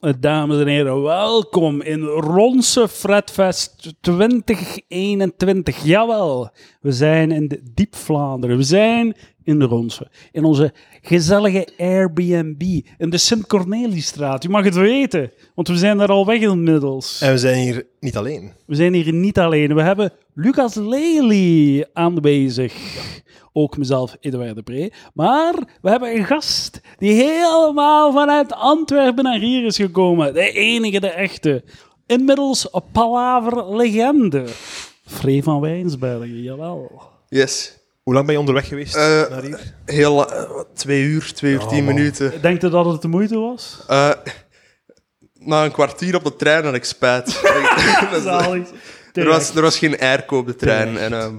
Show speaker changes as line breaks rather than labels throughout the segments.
Eh, Dames en heren, welkom in Ronse Fredfest 2021. Jawel, we zijn in de diep Vlaanderen. We zijn in Ronse, in onze gezellige Airbnb, in de Sint-Corneliestraat. U mag het weten, want we zijn daar al weg inmiddels.
En we zijn hier niet alleen.
We zijn hier niet alleen. We hebben Lucas Lely aanwezig. Ook mezelf, Edouard de Pre. Maar we hebben een gast die helemaal vanuit Antwerpen naar hier is gekomen. De enige, de echte. Inmiddels een palaver legende. Free van Wijnsbergen, jawel.
Yes.
Hoe lang ben je onderweg geweest
Eh,
naar hier?
Heel la- eh, wat, twee uur, twee uur, tien minuten.
Denk je dat het de moeite was?
Eh, na een kwartier op de trein had ik spijt. Dat is-
Zalig.
er, was, er was geen airco op de trein. En, ehm,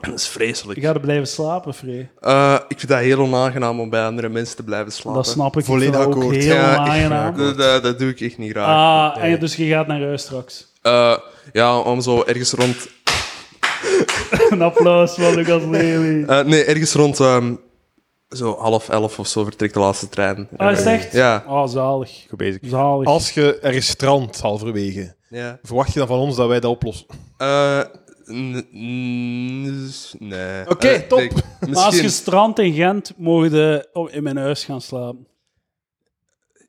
Dat is vreselijk.
Je gaat er blijven slapen, Free.
Eh, ik vind dat heel onaangenaam om bij andere mensen te blijven slapen.
Dat snap ik.
Volledig
ik vind dat
akkoord.
Ook heel
Ja, ik-
aangenaam.
dat, dat, dat doe ik echt niet graag.
Ah, en dus je gaat naar huis straks.
Eh, ja, om zo ergens rond...
Een applaus van Lucas Lely.
eh, nee, ergens rond ehm, zo half elf of zo vertrekt de laatste trein. Eh,
Ah, is het echt?
Ja.
Ah, zalig.
Goed bezig.
Zalig.
Als je ergens strandt halverwege,
ja.
verwacht je dan van ons dat wij dat oplossen?
Eh, n- n- nee.
Oké,
Eh,
top.
nee,
maar als je
misschien,
strand in Gent, mogen de oh, in mijn huis gaan slapen.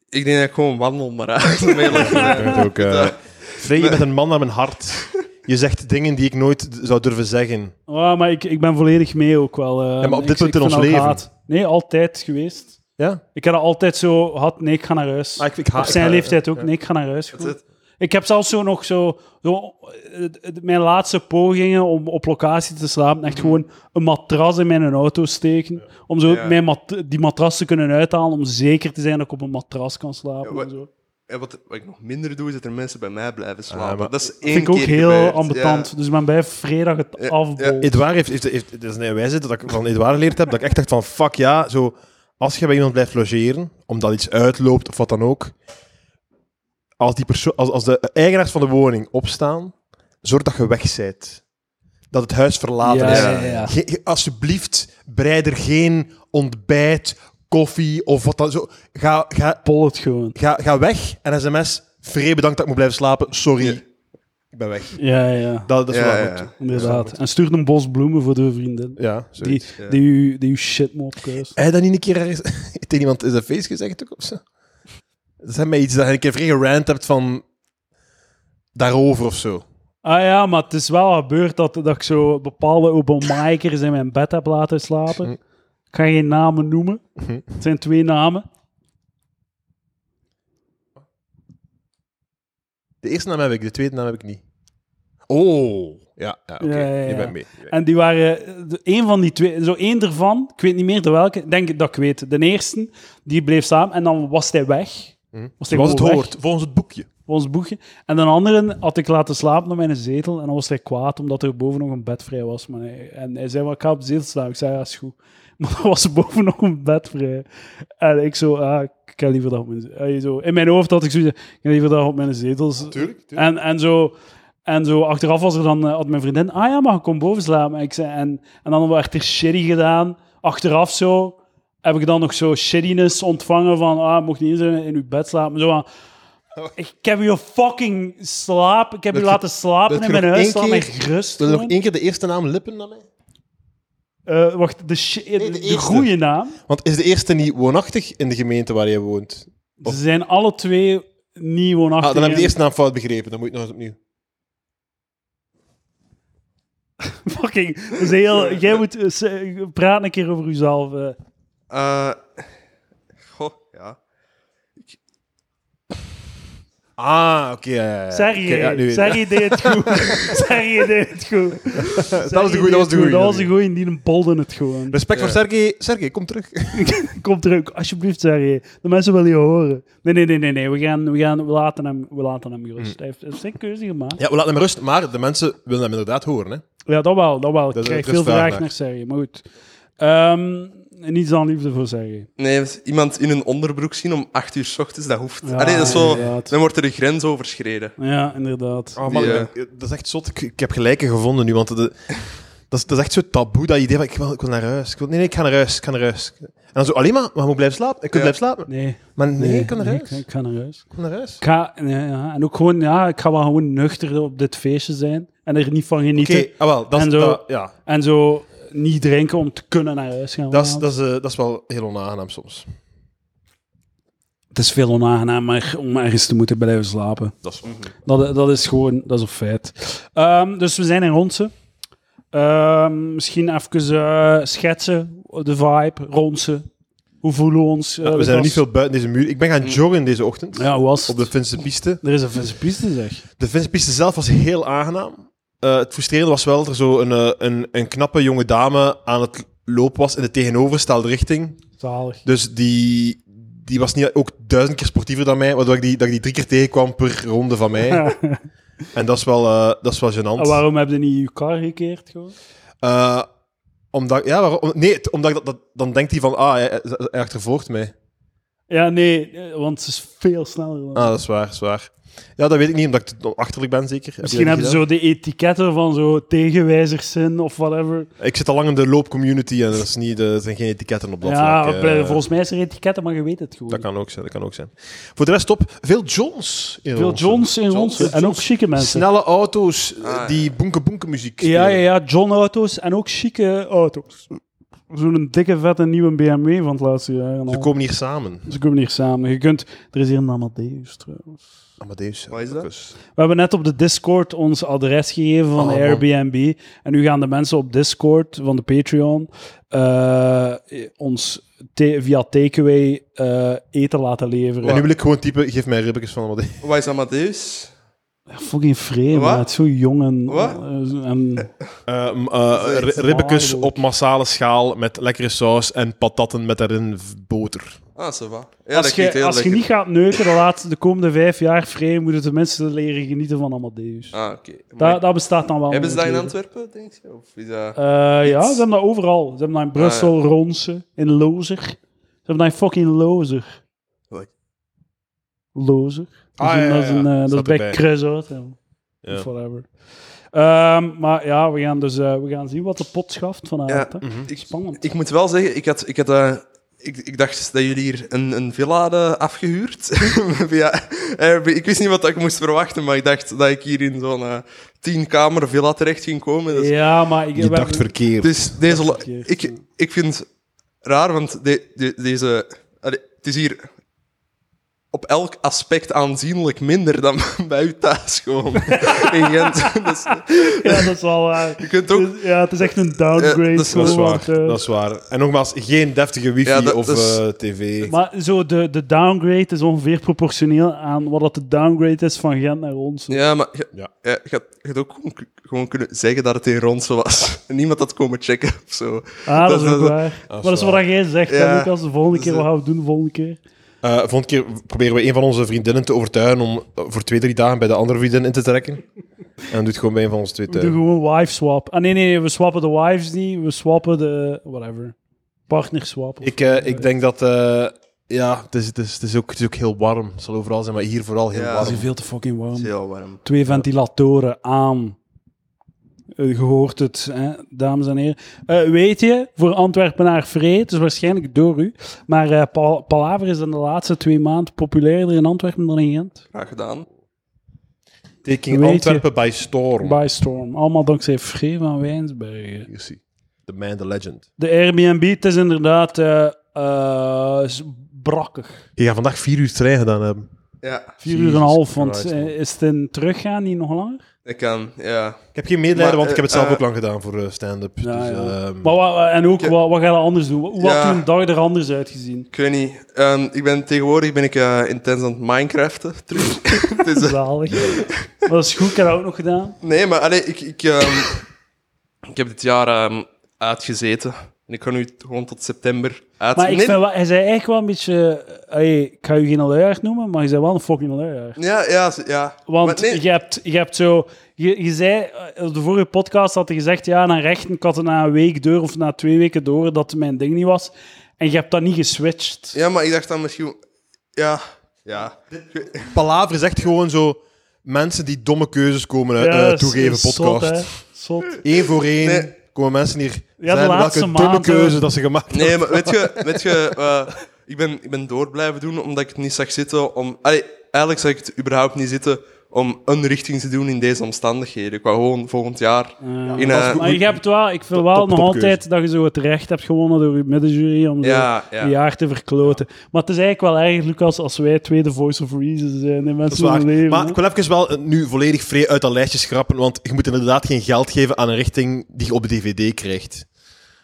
ik denk dat ik gewoon wandel maar eh, uit. om eerlijk te zijn.
Je bent ook, eh, Vrij, je bent een man naar mijn hart. Je zegt dingen die ik nooit d- zou durven zeggen.
Ah, maar ik, ik ben volledig mee ook wel. eh.
Ja, maar op
Ik-
dit punt
ik
in
vind
ons
dat
leven.
haat. Nee, altijd geweest.
Ja?
Ik heb dat altijd zo gehad. Nee, ik ga naar huis.
Ah, ik- ik haat-
Op zijn
ik ga-
leeftijd ook.
ja.
Nee, ik ga naar huis. Goed.
het.
Ik heb zelfs zo nog zo, zo eh, eh, mijn laatste pogingen om op locatie te slapen, echt gewoon een matras in mijn auto steken, om zo
Mm-hmm. Ja.
mijn mat- die matras te kunnen uithalen, om zeker te zijn dat ik op een matras kan slapen.
Ja, wa-
en zo.
En Eh, wat, wat ik nog minder doe, is dat er mensen bij mij blijven slapen.
Ah, maar-
dat is één
Dat vind ik ook
keer
heel
gebeurd.
ambetant. Dus ik ben bij vrijdag het
Ja,
afbol.
Edouard heeft, heeft, heeft, het is een wijze dat ik van Edouard geleerd heb, dat ik echt dacht van, fuck ja, zo, als je bij iemand blijft logeren, omdat iets uitloopt of wat dan ook, als, die perso- als, als de eigenaars van de woning opstaan, zorg dat je weg bent. Dat het huis verlaten
Ja,
is.
ja, ja.
Ge- ge- alsjeblieft, breid er geen ontbijt, koffie of wat dan zo. Ga, ga,
Pol het gewoon.
ga, ga weg en sms, vrij bedankt dat ik moet blijven slapen, sorry. Ik ben weg.
Ja, ja,
Dat, dat is
Ja,
wel
ja,
goed.
ja.
inderdaad. En stuur een bos bloemen voor de vriendin.
Ja,
Die,
zoiets.
ja.
die, u, die u shit mop kuist.
Heb je dat niet een keer ergens tegen iemand in zijn face gezegd ook of zo? Dat is mij iets dat je een keer vrij gerant hebt van daarover of zo.
Ah ja, maar het is wel gebeurd dat, dat ik zo bepaalde openmikers in mijn bed heb laten slapen. Ik ga geen namen noemen. Het zijn twee namen.
De eerste naam heb ik, de tweede naam heb ik niet. Oh, ja, ja oké.
Ja, ja, ja.
Je bent mee.
En die waren, de- één van die twee, zo één ervan, ik weet niet meer de welke, ik denk dat ik weet. De eerste, die bleef samen en dan was hij weg. Was hij
Zoals het
gewoon weg.
hoort, volgens het boekje.
ons boekje. En de andere had ik laten slapen op mijn zetel. En dan was hij kwaad omdat er boven nog een bed vrij was. Maar hij, en hij zei: "Wel, Ik ga op de zetel slapen. Ik zei: Ja, is goed. Maar er was boven nog een bed vrij. En ik zo: ah, Ik heb liever dat op mijn ze- eh, zo. In mijn hoofd had ik zoiets: Ik heb liever dat op mijn zetels. En, en zo. En zo achteraf was er dan, eh, had mijn vriendin, ah ja, maar ik kom boven slapen. En, ik zei, en, en dan werd er shitty gedaan. Achteraf zo heb ik dan nog zo shittiness ontvangen van, ah, mocht niet eens in, in uw bed slapen. Zo van, ik heb je fucking slaap. Ik heb je
Dat je-
laten slapen
dat
in
je
mijn
nog
huis.
één
Laat mij
keer-
gerust.
Wil je nog
gewoon.
één keer de eerste naam lippen naar mij?
Eh, wacht, de, shi- de, de
eerste.
goede naam.
Want is de eerste niet woonachtig in de gemeente waar jij woont? Of-
Ze zijn alle twee niet woonachtig.
Oh. Ah, dan heb
en-
ik de eerste naam fout begrepen. Dan moet ik nog eens opnieuw.
Fucking, dat is heel, jij moet eh, se- praat een keer over uzelf. eh.
Eh, goh, ja.
Ah, oké. ja, ja, ja.
Sergi,
Oké, ja, nu weet ik.
Sergi deed het goed. Sergi deed het goed.
Dat was de goeie, dat was de goeie.
Dat was de goeie, die bolde het gewoon.
Respect voor
Ja.
Sergej. Sergej, kom terug.
Kom terug, alsjeblieft Sergi. De mensen willen je horen. Nee, nee, nee, nee, nee. We, gaan, we, gaan, we, laten, hem, we laten hem gerust.
Mm.
Hij heeft, hij heeft zijn keuze gemaakt.
Ja, we laten hem rust, maar de mensen willen hem inderdaad horen. Hè?
Ja, dat wel, dat wel. Ik
Dat is-
krijg
dat is
veel
vraag
vraag
naar.
naar Sergi, maar goed. Ehm, niets dan liefde voor Sergi.
Nee, want iemand in een onderbroek zien om acht uur 's ochtends, dat hoeft.
Ja,
Allee, dat is zo,
inderdaad.
dan wordt er de grens overschreden.
Ja, inderdaad.
Oh man,
Die,
ik ben- dat is echt zot. Ik, ik heb gelijke gevonden nu, want de, Dat is, dat is echt zo taboe, dat idee van ik wil, ik wil naar huis. Ik wil, nee, nee, ik ga naar huis, ik ga naar huis. En dan zo alleen maar, maar je moet blijven slapen. Ik kan
Ja.
blijven slapen.
Nee,
Maar nee, ik kan naar
nee,
huis.
Ik,
Ik
ik ga naar huis.
kan naar huis.
Ik ga, nee, ja, en ook gewoon, ja, ik ga wel gewoon nuchter op dit feestje zijn. En er niet van
Oké,
genieten.
ah wel, dat is,
En zo-
dat, ja,
En zo niet drinken om te kunnen naar huis gaan.
dat, is,
vanavond.
dat, is, eh, dat is wel heel onaangenaam soms.
Het is veel onaangenamer om ergens te moeten blijven slapen.
Dat
Mhm.
is
Dat, dat is gewoon, dat is een feit. Ehm, dus we zijn in Ronsen. Ehm, misschien even eh, schetsen, de vibe, Ronsen. Hoe voelen we ons? eh,
we zijn
gast?
nog niet veel buiten deze muur. Ik ben gaan joggen deze ochtend
Mm. Ja, hoe was
op
het?
de Finse piste.
Er is een Finse piste, zeg.
De Finse piste zelf was heel aangenaam. Eh, het frustrerende was wel dat er zo een, eh, een, een knappe jonge dame aan het lopen was in de tegenovergestelde richting.
Zalig.
Dus die, die was niet ook duizend keer sportiever dan mij, waardoor ik die, dat ik die drie keer tegenkwam per ronde van mij. En dat is wel, eh, dat is wel gênant.
En waarom heb je niet je car gekeerd? Gewoon?
Eh, omdat, ja, waarom, nee, het- omdat ik dat, dat- dan denkt hij van, ah, hij, hij- hij achtervolgt mij.
Ja, nee, eh, want ze is veel sneller. Dan.
Ah, dat is waar, dat is waar. Ja, dat weet ik niet, omdat ik te- achterlijk ben, zeker. Heb
Misschien
jij dat
hebben ze
gedaan?
zo de etiketten van zo tegenwijzers zijn of whatever.
Ik zit al lang in de loopcommunity en er, is niet, eh, er zijn geen etiketten op dat
ja,
vlak. eh.
eh, volgens mij is er etiketten, maar je weet het gewoon.
Dat kan ook zijn, dat kan ook zijn. Voor de rest, top. Veel Johns in
Veel
Ronsen.
Johns in
Johns,
Ronsen. En ook
Johns.
chique mensen.
Snelle auto's eh,
Ah, ja.
die bonke-bonke muziek
Ja, ja,
spelen.
ja, John-auto's en ook chique auto's. Zo'n dikke, vette nieuwe BMW van het laatste jaar. en al.
Ze komen hier samen.
Ze komen hier samen. Je kunt... Er is hier een Amadeus trouwens.
Amadeus.
Wat is dat?
Dus-
We hebben net op de Discord ons adres gegeven van
Oh, man.
Airbnb. En nu gaan de mensen op Discord van de Patreon eh, ons te- via takeaway eh, eten laten leveren.
En nu wil ik gewoon typen, geef mij ribbekjes van Amadeus.
Wat is Amadeus?
Fucking vreemd,
Wat?
maar het is zo jong en...
Wat?
eh, en-
Eh, m- eh,
Dat is echt
ri- ribbekjes
waar,
op massale schaal met lekkere saus en patatten met daarin v- boter.
Ah, ça va. Ja, dat
als
klinkt
je,
heel
als je
lekker.
niet gaat neuken de, laatste, de komende vijf jaar vreemd, moeten de mensen leren genieten van Amadeus.
Ah, oké. Maar
Dat, dat bestaat dan wel.
Hebben ze dat in
natuurlijk.
Antwerpen, denk je? Of is dat...
Eh, ja,
Iets. Ah,
ze hebben dat overal. Ze hebben dat in Brussel, Ronsen, in Lozer. Ze hebben dat in fucking Lozer.
Wat?
Lozer. Dat is
Ah,
een-
ja,
dat is,
ja,
een,
ja.
eh, dat is
Staat
bij
erbij.
Cruisout.
Ja.
Of whatever. Ehm, maar ja, we gaan, dus, eh, we gaan zien wat de pot schaft vanavond.
Ja.
hè.
Ik,
Spannend.
ik moet wel zeggen, ik, had, ik, had, eh, ik, ik dacht dat jullie hier een, een villa hadden afgehuurd. Via Airbnb. ik wist niet wat ik moest verwachten, maar ik dacht dat ik hier in zo'n eh, tienkamer villa terecht ging komen. Dus,
ja, maar ik,
Je
we-
dacht verkeerd.
dus deze... lo-
verkeerd, ja.
Ik, ik vind het raar, want de- de- deze... allee, het is hier op elk aspect aanzienlijk minder dan bij u thuis gewoon. in Gent. Dus,
ja, dat is wel waar.
je kunt ook...
Ja, het is echt een downgrade.
Ja, dat is-
gewoon,
Dat is waar,
want, eh,
dat is waar. En nogmaals, geen deftige wifi
Ja, dat-
of
dat is-
eh, tv.
Maar zo de, de downgrade is ongeveer proportioneel aan wat dat de downgrade is van Gent naar ons.
Ja, maar je,
Ja.
ja. je, had, je had ook gewoon k- gewoon kunnen zeggen dat het in Ronse was. En niemand had komen checken of zo.
Ah, dat,
Dat-
is ook
dat-
waar.
dat is
maar dat is
waar.
wat jij zegt.
Ja.
En ook als de volgende keer,
Dus,
wat
eh,
gaan we doen de volgende keer?
Eh volgende keer proberen we een van onze vriendinnen te overtuigen om eh, voor twee, drie dagen bij de andere vriendin in te trekken. En dan doet gewoon bij een van onze twee
We doen
tuin.
gewoon wife swap. Ah nee, nee, we swappen de wives niet. We swappen de... whatever. Partner swap.
Ik, eh, ik denk dat... eh, ja, het is, het, is, het, is ook, het is ook heel warm. Het zal overal zijn, maar hier vooral heel
Ja.
Het
warm.
is veel te fucking
Dat
warm.
is heel warm.
Twee ventilatoren aan. Eh, Je hoort het, hè, dames en heren. Eh, weet je, voor Antwerpenaar Vree, het is waarschijnlijk door u, maar eh, Pal- Palaver is in de laatste twee maanden populairder in Antwerpen dan in Gent.
Graag gedaan.
Taking
Weet je-
Antwerpen by storm.
By storm. Allemaal dankzij Vree van Wijnsbergen.
Hier zie. The man, the legend.
De Airbnb, het is inderdaad eh, eh, is brakkig.
Je gaat vandaag vier uur trein gedaan hebben.
Ja,
Vier
Jesus
uur en een half, want
Christ,
eh,
man.
is het in teruggaan niet nog langer?
ik kan. Ja.
Ik heb geen medelijden,
Maar,
want ik heb het
eh,
zelf
eh,
ook lang gedaan voor eh, stand-up.
Ja,
dus,
ja.
ehm,
Maar wa- wa- en ook,
Ik-
wat, wat ga je anders doen? Hoe
Ja.
had u een dag er anders uitgezien?
Ik weet niet. Ehm, ik ben, tegenwoordig ben ik eh, intens aan het Minecraften terug. dus, eh,
Zalig. Maar dat is goed, ik heb dat ook nog gedaan.
nee, maar allee, ik, ik, ehm, ik heb dit jaar ehm, uitgezeten. En ik ga nu t- gewoon tot september uit.
Maar ik
Nee,
vind wel, hij zei eigenlijk wel een beetje... eh, allee, ik ga u geen luiaard noemen, maar je bent wel een fucking luiaard.
Ja, ja, z- ja.
Want
Maar nee,
je, hebt, je hebt zo... Je, je zei, eh, op de vorige podcast had hij gezegd, ja, na rechten, ik had het na een week door of na twee weken door dat mijn ding niet was. En je hebt dat niet geswitcht.
ja, maar ik dacht dan misschien... Ja, ja.
Palaver is echt gewoon zo... Mensen die domme keuzes komen uit, eh,
dat is-
toegeven,
is zot,
podcast.
hè. Zot.
Eén voor één.
Nee,
komen mensen hier
Ja, de
zeggen
laatste
welke domme
maanden.
keuze dat ze gemaakt hebben.
Nee, maar weet je, weet je eh, ik, ben, ik ben door blijven doen omdat ik het niet zag zitten om. allee, eigenlijk zag ik het überhaupt niet zitten om een richting te doen in deze omstandigheden. Ik wou gewoon volgend jaar.
Eh,
in,
dat is
eh,
goed.
maar je hebt wel, ik vind
Top-
wel
top-
nog
topkeuze.
altijd dat je zo het recht hebt gewonnen door je middenjury om zo
Ja, ja.
een jaar te verkloten. Maar het is eigenlijk wel erg, Lucas, als wij tweede voice of reason zijn in
Dat
mensen
is waar.
hun leven.
maar
hè.
ik wil even wel eh, nu volledig vrij uit dat lijstje schrappen, want je moet inderdaad geen geld geven aan een richting die je op de DVD krijgt.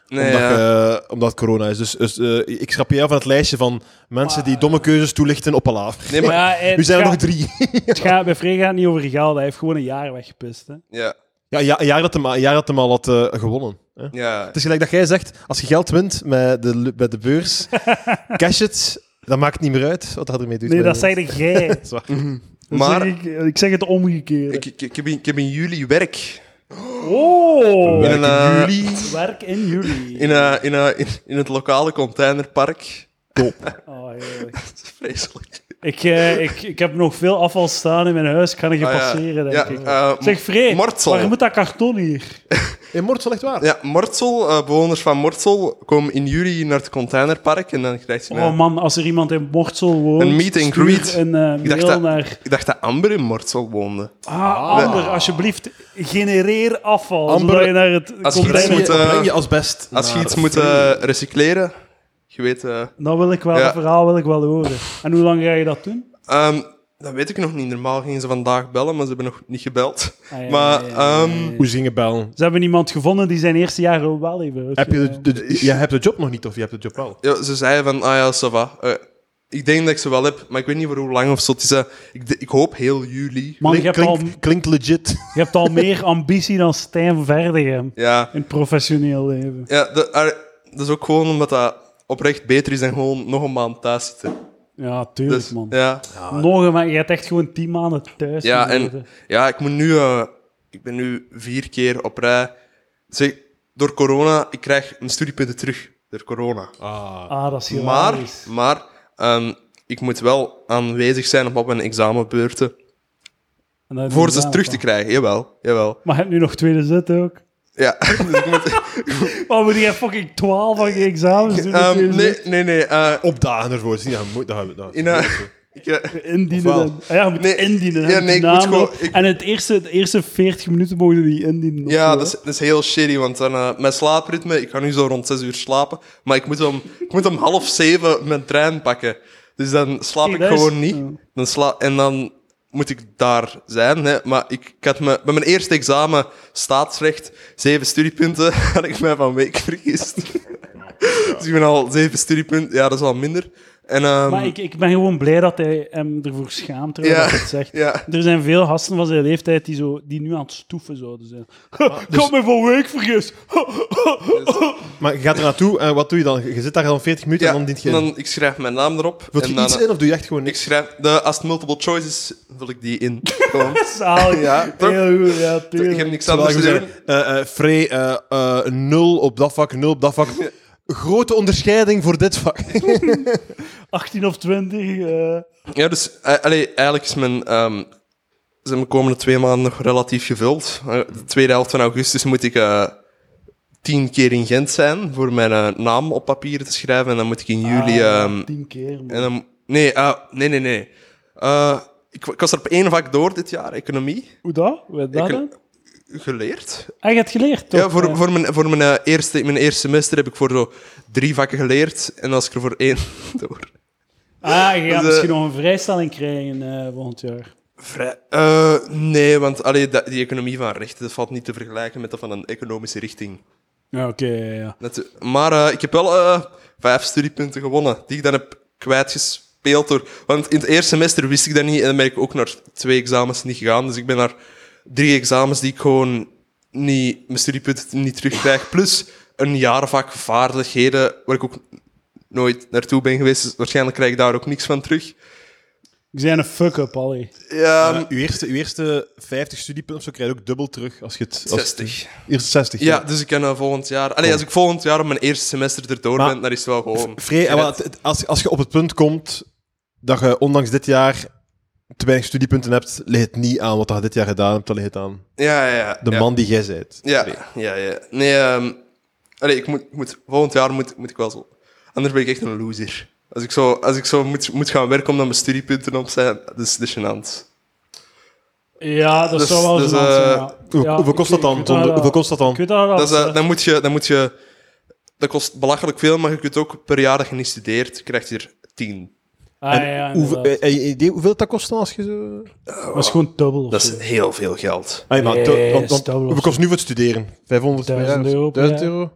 Nee,
omdat,
ja.
je- omdat het corona is. Dus, dus, eh, ik schrap je af van het lijstje van mensen die domme keuzes toelichten op Palaver.
nee, maar.
ja, eh,
Nu
het
zijn er nog
gaat-
drie.
het gaat- bij Frey gaat het niet over geld, hij heeft gewoon een jaar weggepist. Hè.
Ja,
Ja, ja, een jaar dat hem, een jaar dat hem al had eh, gewonnen. Hè?
ja.
Het is gelijk dat jij zegt, als je geld wint met de, lu- met de beurs, cash it, dan maakt het niet meer uit wat hij ermee doet.
Nee,
Maar-
dat zeide jij. Dat
Dat is waar.
Maar
zeg ik, ik zeg het omgekeerd.
ik, ik, ik, heb in, ik heb in juli werk.
Oh!
In een, eh,
juli.
Werk in juli.
In, eh, in, eh, in, in het lokale containerpark.
Oh, heerlijk.
Dat is vreselijk.
ik, eh, ik, ik heb nog veel afval staan in mijn huis. Ik kan er geen
Ah, ja.
passeren, denk
Ja,
ik.
eh,
zeg, Free,
Mortsel.
waarom moet dat karton hier?
In Moord zal echt waar.
Ja, Mortsel, eh, bewoners van Mortsel, komen in juli naar het containerpark. En dan krijg je een,
Oh man, als er iemand in Mortsel woont...
Een meet and
stuur
greet.
Een eh,
Ik dacht
mail
dat-
naar...
Ik dacht dat Amber in Mortsel woonde.
Ah, Amber, alsjeblieft, genereer afval.
Amber,
zodat je naar het
als je
container...
iets moet,
Dan
eh,
breng je als best.
Als je
naar
iets moet
Free.
eh, recycleren, je weet... eh,
Dat Nou wil ik wel,
Ja.
dat verhaal wil ik wel horen. En hoe lang ga je dat doen?
ehm, dat weet ik nog niet. Normaal gingen ze vandaag bellen, maar ze hebben nog niet gebeld.
Ah, ja,
Maar, ehm,
ja, ja, ja, ja.
Hoe zingen bellen?
Ze hebben iemand gevonden die zijn eerste jaar al wel even
Heb je, de,
uitgedaan.
de- de- je hebt de job nog niet, of je hebt de job wel?
Ja, ze zeiden van, ah ja, ça va. Eh, ik denk dat ik ze wel heb, maar ik weet niet voor hoe lang of zo. Het is, eh, ik, de- ik hoop heel juli.
Man, je
Klink-
hebt, al,
klink- Klinkt legit.
je hebt al meer ambitie dan Stijn Verdegem
Ja,
in het professioneel leven.
ja de- ah, dat is ook gewoon omdat dat oprecht beter is dan gewoon nog een maand thuis zitten.
Ja, tuurlijk,
Dus,
man.
ja.
Nog een, maar je hebt echt gewoon tien maanden thuis.
Ja, en
gezeten.
ja, ik moet nu. eh, ik ben nu vier keer op rij. Zeg, door corona, ik krijg mijn studiepunten terug. Door corona.
Ah, dat is
Maar,
hilarisch.
maar ehm, ik moet wel aanwezig zijn op mijn examenbeurten.
En dat
Voor
is
ze terug te krijgen, jawel. jawel.
Maar je hebt nu nog tweede zit ook.
Ja, dus ik moet.
Oh, maar die heeft fucking twaalf van je examens doen.
ehm,
tweede
nee,
zit.
nee, nee. eh,
Opdagen ervoor. Zie je, dat moet, dat, gaan we- dat,
in, eh, ik, eh,
Indienen.
Ofwel.
dan. Ah, ja, je moet
Nee,
indienen.
ja,
hè,
nee, ik
de
moet
namen.
gewoon- ik-
En het eerste, de eerste 40 minuten mogen die indienen. of
ja,
zo,
dat is, dat is heel shitty, want dan, eh, mijn slaapritme, ik ga nu zo rond 6 uur slapen, maar ik moet om, ik moet om half zeven mijn trein pakken. Dus dan slaap
Hey,
ik
dat is-
gewoon niet.
ja.
Dan sla en dan moet ik daar zijn. Hè. Maar ik, ik had me, bij mijn eerste examen staatsrecht, zeven studiepunten, had ik mij van week vergist. dus ik ben al zeven studiepunten, ja, dat is al minder. En, ehm,
Maar ik, ik ben gewoon blij dat hij hem ervoor schaamt, trouwens,
Ja,
dat hij het zegt.
ja.
Er zijn veel gasten van zijn leeftijd die, zo, die nu aan het stoeven zouden zijn.
Ah, dus-
Ik had me van week vergis.
Maar je gaat er naartoe en wat doe je dan? Je zit daar dan 40 minuten
ja,
en dan dient je.
dan, ik schrijf mijn naam erop.
Vult je
en dan,
iets
eh,
in of doe je echt gewoon
Ik
niks?
schrijf, de, als het multiple choice is, vul ik die in. Gewoon.
Zalig.
Ja, toch?
Heel goed, ja,
Ik
tuurlijk.
heb niks
Terwijl
anders te
je
doen.
zeggen, eh, eh, Frey, eh, eh, nul op dat vak, nul op dat vak. Grote onderscheiding voor dit vak.
18 of 20. eh.
Ja, dus eh, allee, eigenlijk is mijn, ehm, zijn mijn komende twee maanden nog relatief gevuld. Eh, De tweede helft van augustus moet ik eh, tien keer in Gent zijn voor mijn eh, naam op papier te schrijven. En dan moet ik in juli...
Ah,
ehm,
10 keer, man.
en dan, nee, ah, nee, nee, nee. Eh, ik, ik was er op één vak door dit jaar, economie,
Hoe dat? Wat dat
Ik-
dan?
geleerd.
Hij gaat geleerd, toch?
Ja, voor,
Eh,
voor, mijn, voor mijn, eh, eerste, mijn eerste semester heb ik voor zo drie vakken geleerd. En als ik er voor één door...
Ah, je gaat
de-
misschien nog een vrijstelling krijgen eh, volgend jaar.
Vrij. eh, nee, want allee, dat- die economie van rechten dat valt niet te vergelijken met dat van een economische richting.
Ja, oké, ja, ja.
Natu- maar eh, ik heb wel eh, vijf studiepunten gewonnen, die ik dan heb kwijtgespeeld. Door, want in het eerste semester wist ik dat niet en dan ben ik ook naar twee examens niet gegaan. Dus ik ben naar drie examens die ik gewoon niet, mijn studiepunten niet terugkrijg. Plus een jaarvak vaardigheden, waar ik ook nooit naartoe ben geweest. Dus waarschijnlijk krijg ik daar ook niks van terug.
Ik zijn een fuck-up, allee.
Ja,
Eh, uw, eerste, uw eerste 50 studiepunten of zo krijg je ook dubbel terug als je het.
Eh,
Als
60.
Eerst 60.
Ja, dus ik kan eh, volgend jaar. Allee, als ik volgend jaar op mijn eerste semester erdoor
Maar-
ben, dan is het
eh,
wel gewoon.
Vrij, en wat- het- als, als je op het punt komt dat je ondanks dit jaar te weinig studiepunten hebt, ligt het niet aan wat je dit jaar gedaan hebt, dat ligt het aan
Ja, ja, ja.
de
ja.
man die jij bent.
Ja,
Nee.
ja, ja. Nee, ehm, allee, ik moet, ik moet, volgend jaar moet, moet ik wel zo. Anders ben ik echt een loser. Als ik zo, als ik zo moet, moet gaan werken omdat mijn studiepunten op zijn, dat is dat is gênant.
Ja, dat
Dus-
zou wel
dus,
gênant zijn,
eh,
ja.
Hoe-
Ja,
hoeveel
ik
kost
weet-
dat
ik
dan?
weet dat
Hoeveel
dat-
kost dat dan?
Ik weet dat dat...
Dat, is, eh, dan, moet je, dan moet je... Dat kost belachelijk veel, maar je kunt ook per jaar dat je niet studeert, krijg je er tien.
ah, ja, ja,
Hoeveel-
inderdaad.
eh, eh, idee hoeveel dat kost dan als je zo...
eh, Dat is gewoon dubbel of
Dat
zo.
is heel veel geld.
Ah, ja, maar
Nee,
to- want-
is
want
dubbel of
hoeveel
zo.
kost nu voor het studeren? 500 per
Duizend
jaar?
euro per
1000
jaar.
euro?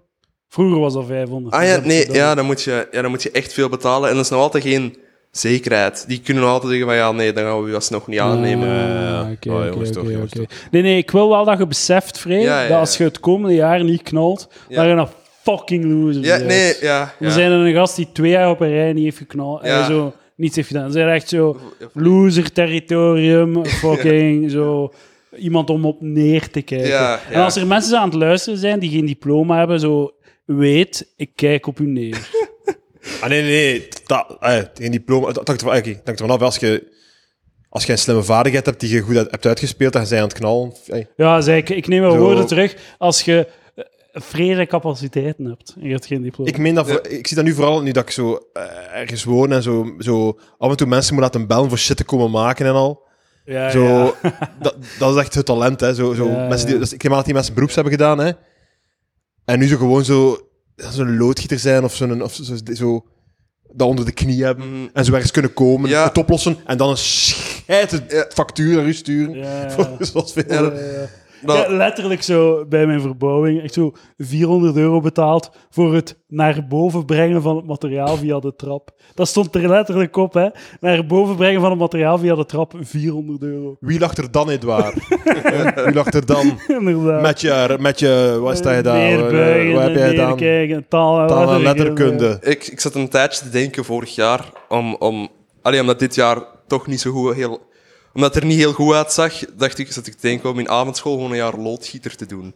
Vroeger was dat 500.
Ah
dus
ja,
dat is
nee,
dubbel.
ja, dan moet je, ja, dan moet je echt veel betalen. En dat is nog altijd geen zekerheid. Die kunnen nog altijd zeggen van ja, nee, dan gaan we u alsnog niet aannemen.
ja.
Ah, oké,
Oh,
oké,
jongens, toch,
oké,
jongens,
oké. Nee, nee, ik wil wel dat je beseft, Frey,
Ja, ja,
dat als
ja.
je het komende jaar niet knalt,
Ja.
dat je een fucking loser
Ja,
bent.
nee, ja.
Dan
ja.
zijn er een gast die twee jaar op een rij niet heeft geknald en
Ja.
zo niets heeft gedaan. Dan zijn er echt zo loser-territorium, fucking zo... Iemand om op neer te kijken.
Ja,
En
ja.
als er mensen aan het luisteren zijn die geen diploma hebben, zo... Weet, ik kijk op u neer.
Ah, nee, nee, nee. Dat, ah, ja, geen diploma. Dat hangt ervan- oké, dat hangt ervan af. Als je, als je een slimme vaardigheid hebt die je goed uit- hebt uitgespeeld, dan zijn aan het knallen. Hey.
Ja, zei ik, ik neem mijn
Zo.
woorden terug. Als je eh, vrede capaciteiten hebt en je hebt geen diploma.
Ik, meen dat voor- ik zie dat nu vooral nu dat ik zo eh, ergens woon en zo, zo af en toe mensen moet laten bellen voor shit te komen maken en al.
ja,
Zo,
Ah, ja.
dat, dat is echt het talent, hè. Zo, zo,
Ja,
mensen die,
ja.
dus ik neem aan dat die mensen beroeps hebben gedaan, hè. En nu zo gewoon zo... Zo'n loodgieter zijn of zo'n... Of zo, zo, dat onder de knie hebben.
Mhm.
En zo ergens kunnen komen,
Ja.
het oplossen. En dan een scheite
Ja.
factuur naar u sturen.
Ja, ja.
Voor zoals veel.
Ja, dat-
Eh,
dat-
ja, letterlijk zo bij mijn verbouwing. Echt zo 400 euro betaald voor het naar boven brengen van het materiaal via de trap. Dat stond er letterlijk op, hè. Naar boven brengen van het materiaal via de trap, 400 euro.
Wie lacht er dan, Edouard? Eh, Wie lacht er dan?
Inderdaad.
Met je... Met je wat sta je daar? eh,
Neerbuigen,
Wat heb jij gedaan?
neerkijken, taal en
Taal en
letterkunde.
letterkunde.
Ik, ik zat een tijdje te denken vorig jaar om, om allee, omdat dit jaar toch niet zo goed heel omdat het er niet heel goed uitzag, dacht ik, zat ik te denken om in avondschool gewoon een jaar loodgieter te doen.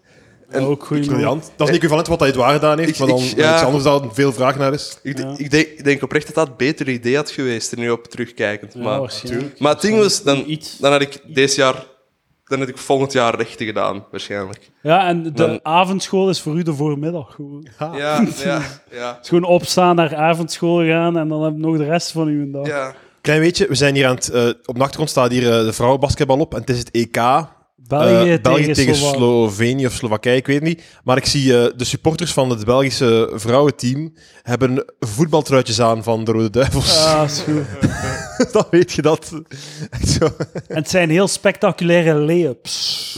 En
Ook goed.
Briljant. Dat is niet equivalent wat Edouard gedaan heeft,
Ik-
maar dan
ik-
iets
ja.
anders dan veel vraag naar is.
Ik,
Ja.
ik, denk, ik denk oprecht dat dat een beter idee had geweest, er nu op terugkijkend.
Ja, oh,
maar,
waarschijnlijk.
maar het ding was, dan,
Iets.
dan had ik dit jaar, dan had ik volgend jaar rechten gedaan, waarschijnlijk.
Ja, en de
Dan-
avondschool is voor u de voormiddag gewoon.
Ah.
Ja, ja, ja.
Het is gewoon opstaan, naar avondschool gaan en dan heb je nog de rest van uw dag.
ja.
Klein weetje, we zijn hier aan het... eh, op de achtergrond staat hier eh, de vrouwenbasketbal op en het is het EK. eh,
België tegen, Slovak-
Slovenië of Slowakije, ik weet het niet. Maar ik zie eh, de supporters van het Belgische vrouwenteam hebben voetbaltruitjes aan van de Rode Duivels.
Ah, is goed.
Dan weet je dat. Echt zo.
En het zijn heel spectaculaire lay-ups.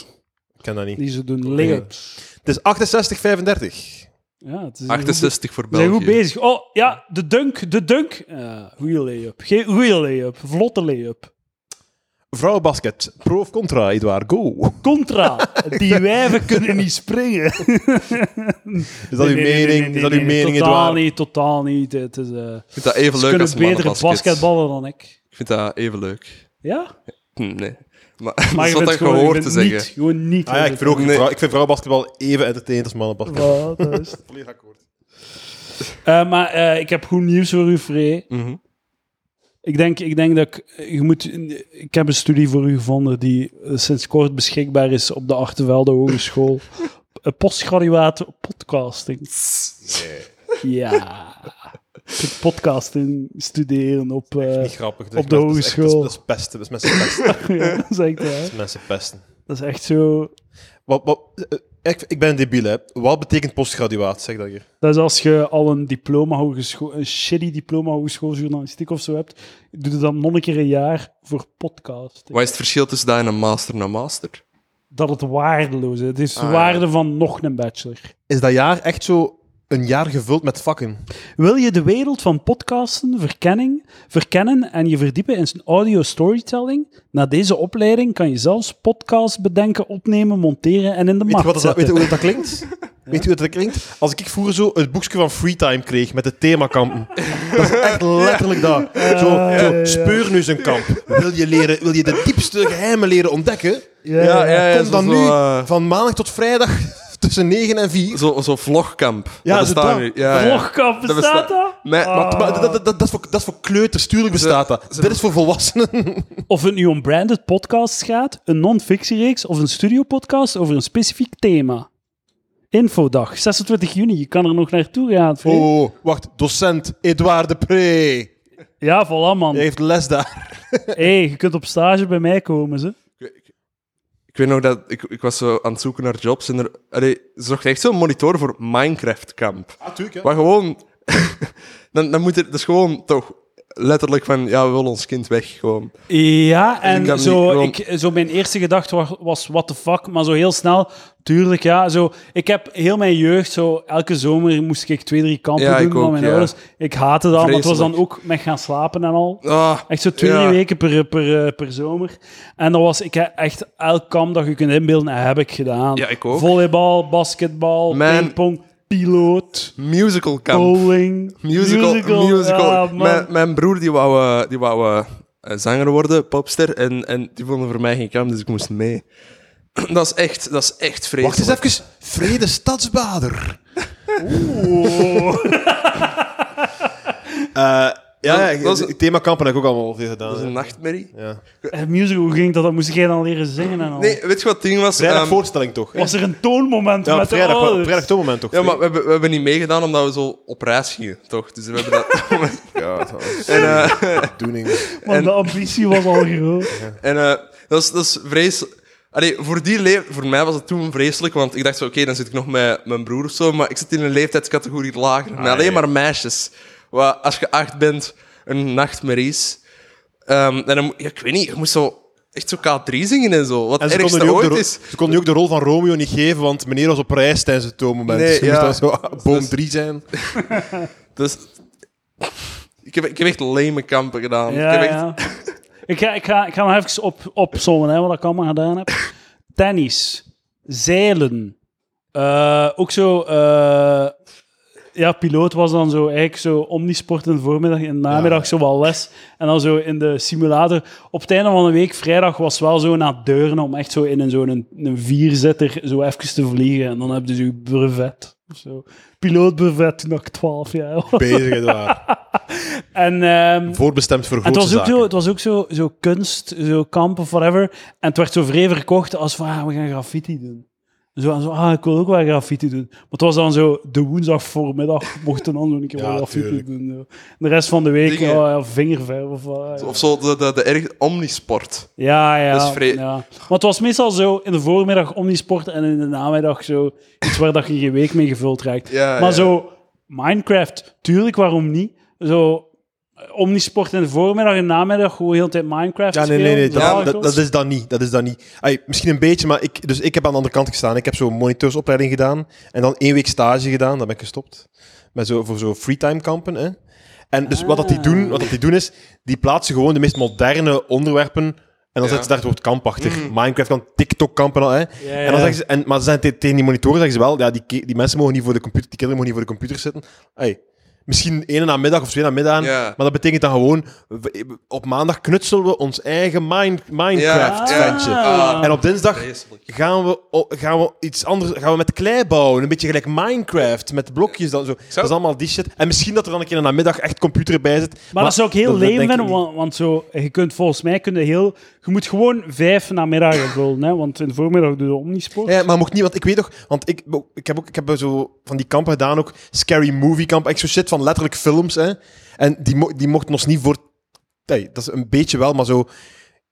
Ik ken dat niet.
Die ze doen, lay-ups.
Het is 68-35.
Ja, het is
68 voor
We zijn
België.
goed bezig. Oh, ja, de dunk, de dunk. Ja, goeie lay-up. Geen goeie lay-up. Vlotte lay-up.
Vrouwenbasket, pro of contra, Edouard, go.
Contra. Die wijven kunnen niet springen.
Is dat uw mening? Is dat uw mening,
Totaal
Edouard?
niet, totaal niet. Het is, eh,
Ik vind dat even
ze
leuk
kunnen
als
betere
mannenbasket.
basketballen dan ik.
Ik vind dat even leuk.
Ja?
Hm, Nee. Maar,
Maar
dat is
je
wat
bent
ik
gewoon, je
gehoord te
bent
zeggen.
niet, gewoon niet.
Ah ja, ik vind, ook,
Nee.
vrouw- ik vind vrouwenbasketbal even entertainend als mannenbasketbal.
Voilà, dat is het.
Volledig akkoord.
Eh, maar eh, ik heb goed nieuws voor u, Free.
Mhm.
Ik denk, ik denk dat ik, je moet, ik heb een studie voor u gevonden die eh, sinds kort beschikbaar is op de Achtervelde Hogeschool. Een postgraduate podcasting. Ja. Je kunt podcasting studeren op... eh,
Niet grappig.
op de
dat is echt- dat is-
hogeschool.
Dat is pesten, dat is mensen pesten.
ja, dat, is echt, waar.
Dat is mensen pesten.
dat is echt zo...
Wat, wat, eh, ik, ik ben een debiel, hè. Wat betekent postgraduaat? Zeg dat hier.
Dat is als je al een diploma hogeschool, een shitty diploma hogeschooljournalistiek of zo hebt, doe het dan nog een keer een jaar voor podcasting.
Wat is het verschil tussen dat en een master en een master?
dat het waardeloos is. Het is de
Ah, ja.
waarde van nog een bachelor.
Is dat jaar echt zo een jaar gevuld met vakken?
Wil je de wereld van podcasten, verkenning, verkennen en je verdiepen in zijn audio storytelling? Na deze opleiding kan je zelfs podcasts bedenken, opnemen, monteren en in de
Weet je,
markt
wat dat,
zetten.
weet je hoe dat klinkt? Weet je hoe dat klinkt? Als ik vroeger zo het boekje van Freetime kreeg met de themakampen. Dat is echt letterlijk dat. Zo,
ja, ja.
zo speur nu eens een kamp. Wil je, leren, wil je de diepste geheimen leren ontdekken?
Ja, ja.
Kom dan nu
eh,
van maandag tot vrijdag tussen 9 en 4.
Zo, zo vlogkamp.
Ja,
dat bestaat
dat-
nu. Ja, ja.
Vlogkamp,
Dat
bestaat
besta-
dat?
Nee,
Ah.
maar-
Maar dat, dat, dat, dat, is voor, dat is voor kleuters, tuurlijk bestaat dat.
ze-
Dit is voor volwassenen.
Of het nu om branded podcasts gaat, een non-fictiereeks of een studiopodcast over een specifiek thema. Infodag, 26 juni. Je kan er nog naartoe gaan. vriend.
Oh, wacht. Docent Edouard de Pre.
Ja, voilà, man.
Hij heeft les daar.
hey, je kunt op stage bij mij komen, ze.
Ik, ik- ik weet nog dat ik, ik was zo aan het zoeken naar jobs en er, allee, ze zochten echt zo'n monitor voor Minecraft-kamp.
Ah,
Natuurlijk,
Maar gewoon, dan, dan moet er, dat is gewoon toch letterlijk van, ja, we willen ons kind weg. Gewoon.
Ja,
Ik
en
kan
zo,
niet, want-
ik, zo mijn eerste gedachte was, was what the fuck, maar zo heel snel, tuurlijk, ja. Zo, ik heb heel mijn jeugd, zo, elke zomer moest ik twee, drie kampen
Ja,
doen
ik
van
ook,
mijn
ja.
ouders. Ik haatte dat, want het was dan
Vreselijk.
ook met gaan slapen en al.
Ah,
Echt zo twee,
ja.
drie weken per, per, eh, per zomer. En dat was ik heb echt elk kamp dat je kunt inbeelden, heb ik gedaan.
Ja, ik ook.
Volleybal, basketbal,
Mijn-
pingpong, piloot,
Musicalkamp.
bowling,
Musical. musical.
Oh, Ja, man.
mijn, mijn broer die wou, eh, die wou eh, eh, zanger worden, popster, en, en die vonden voor mij geen kamp, dus ik moest mee. Dat is echt, dat is echt vreselijk.
Wacht eens even. Vrede Stadsbader. Eh, ja, ja,
Dat is-
het thema kampen heb ik ook allemaal veel gedaan.
Dat is een
hè.
nachtmerrie.
Ja.
Eh, musical, hoe ging dat? Dat moest jij dan leren zingen en al.
Nee, weet je wat het ding was?
Vrijdag
Ehm,
voorstelling toch? hè?
Was er een toonmoment
Ja, op
met
vrijdag,
de
op
ouders?
vrijdag toonmoment toch?
Ja, maar we hebben, we hebben niet meegedaan omdat we zo op reis gingen, toch? Dus we hebben dat...
Ja, dat was
en eh,
bedoeling.
Want
en-
de ambitie was al groot.
en eh, dat, is, dat is vreselijk. Allee, voor, die le- voor mij was het toen vreselijk, want ik dacht zo, oké, dan zit ik nog met mijn broer of zo, maar ik zit in een leeftijdscategorie lager,
Ah,
met alleen maar meisjes. Wat, als je acht bent, een nachtmerrie is. Ehm, en dan, mo- ja, ik weet niet, je moest zo echt zo K3 zingen en zo, wat
En
het
ze konden,
ergste
nu ook de,
ooit
ro-
is.
ze konden nu ook de rol van Romeo niet geven, want meneer was op reis tijdens het toonmoment. dus
Nee,
je moest
ja.
dan zo ah, boom 3 zijn.
Dus... Ik heb, ik heb echt lame kampen gedaan. ik
Ja,
heb echt,
ja. Ik ga, ik ga, ik ga nog even op, opzommen hè, wat ik allemaal gedaan heb. Tennis, zeilen, eh, ook zo... eh, ja, piloot was dan zo eigenlijk zo omnisport in de voormiddag en de namiddag zo wel les. En dan zo in de simulator. Op het einde van de week, vrijdag, was wel zo naar het deuren om echt zo in een, zo'n een, een vierzitter zo even te vliegen. En dan heb je dus je brevet. of Zo. Pilootbrevet toen ik 12 jaar was.
Bezig daar.
En, ehm,
Voorbestemd voor
en het
grote
was ook,
zaken.
zo, het was ook zo, zo kunst, zo kamp of whatever. En het werd zo vrij verkocht als van, ah, we gaan graffiti doen. Zo, en zo, ah, ik wil ook wel graffiti doen. Maar het was dan zo, de woensdag voormiddag mochten dan zo een keer
Ja,
wel graffiti
tuurlijk.
doen. zo. En de rest van de week,
Dingen.
oh, ja, vingerverf of wat. ja.
Of zo, de, de, de erg omnisport.
Ja, ja,
Dat is vrij-
ja. Maar het was meestal zo in de voormiddag omnisport en in de namiddag zo iets waar dat je je week mee gevuld raakt.
Ja,
maar
ja.
zo Minecraft, tuurlijk, waarom niet? Zo eh, omnisport in de voormiddag en namiddag gewoon heel de tijd Minecraft
Ja, nee, nee, nee. Dat,
spelen.
Ja,
dat, dat is dan niet. Dat is dan niet. Ai, misschien een beetje, maar ik, dus ik heb aan de andere kant gestaan. Ik heb zo'n monitorsopleiding gedaan. En dan één week stage gedaan. Dan ben ik gestopt. Met zo, voor zo'n freetime kampen. Hè. En dus wat, dat
Ah.
die doen, wat dat die doen is, die plaatsen gewoon de meest moderne onderwerpen. En dan
Ja.
zetten ze daar het woord kamp achter. Minecraft kan TikTok kampen al. Hè.
Ja,
En
ja.
dan zeggen ze, en, maar ze zijn te- tegen die monitoren zeggen ze wel, ja, die, ki- die mensen mogen niet voor de computer, die kinderen mogen niet voor de computer zitten. Ai, misschien één namiddag of twee namiddag. aan,
Ja.
Maar dat betekent dan gewoon, we- op maandag knutselen we ons eigen Mine- Minecraft
Ja, ja.
ventje.
Ah.
En op dinsdag
Vreselijk.
gaan we, o- gaan we iets anders, gaan we met klei bouwen. Een beetje gelijk Minecraft, met blokjes dan zo. Dat is allemaal die shit. En misschien dat er dan een keer in de middag echt computer bij zit.
Maar, dat zou ik heel leem
denk ik
vinden,
niet.
want, want zo, je kunt volgens mij kun je heel... Je moet gewoon vijf namiddagen vullen, hè, want in de voormiddag doe je omnisport.
Ja, maar mocht niet, want ik weet toch, want ik, ik heb ook ik heb zo van die kampen gedaan, ook scary movie kamp, echt zo shit van letterlijk films, hè. En die, mo- die mochten ons niet voor, nee, dat is een beetje wel, maar zo,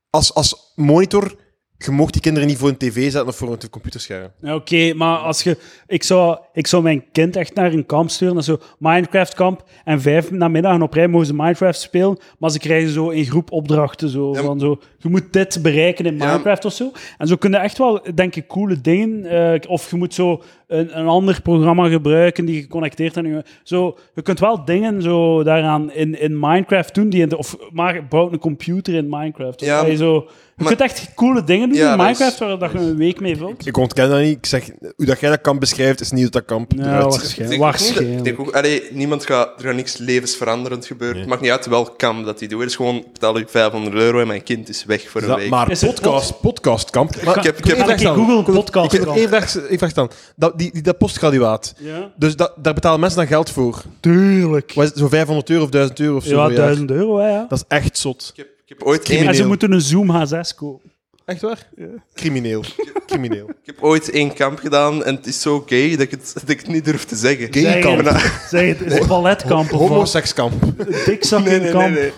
als, als monitor, je mocht die kinderen niet voor een tv zetten of voor een computerscherm.
Ja, Oké, maar als je, ik, zou, ik zou mijn kind echt naar een kamp sturen, dat is zo Minecraft kamp, en vijf namiddagen op rij mogen ze Minecraft spelen, maar ze krijgen zo in groep opdrachten, zo,
maar-
van zo, je moet dit bereiken in
Ja.
Minecraft of zo. En zo kunnen echt wel, denk ik, coole dingen, eh, of je moet zo een, een ander programma gebruiken die geconnecteerd aan je... Zo, je kunt wel dingen zo daaraan in, in Minecraft doen, die in de, of maar bouw een computer in Minecraft. Of,
Ja,
allee, zo, je
maar-
kunt echt coole dingen dingen doen
Ja,
in
dat
Minecraft
is-
waar dat je een week mee vult?
Ik ontken dat niet. Ik zeg, hoe dat jij dat kamp beschrijft, is niet hoe dat kamp
Ja,
eruit
waarschijnlijk.
ziet.
Ik denk ook niet dat-
waarschijnlijk.
ik denk ook- allee, niemand gaat, er gaat niks levensveranderend gebeuren.
Nee.
Het maakt niet uit welk kamp dat die doet. Het is gewoon, ik betaal u 500 euro en mijn kind is weg voor
Is
een
dat-
week.
maar
Is het
podcast, podcastkamp. Maar
ik heb- ik
één
heb-
Ga ik
vraag
in
stellen.
Google
Ik
podcast
heb nog één
dan.
vraag, één vraag staan. Dat, die, die, dat postgraduaat.
Ja,
Dus dat, daar betalen mensen dan geld voor.
tuurlijk.
Wat is het, Zo'n 500 euro of 1000 euro of zo.
Ja,
per jaar?
1000 euro, hè, ja.
Dat is echt zot.
Ik heb, ik heb ooit één
En ze
crimineel.
moeten een Zoom H6 kopen.
Echt waar? Crimineel. Crimineel.
Ik heb ooit één kamp gedaan en het is zo gay dat ik het, dat ik het niet durf te zeggen.
Gay
Zeg
kamp.
het, zeg het, is het balletkamp of wat?
Homosekskamp.
Nee, nee, nee,
Dikzakkenkamp.
nee.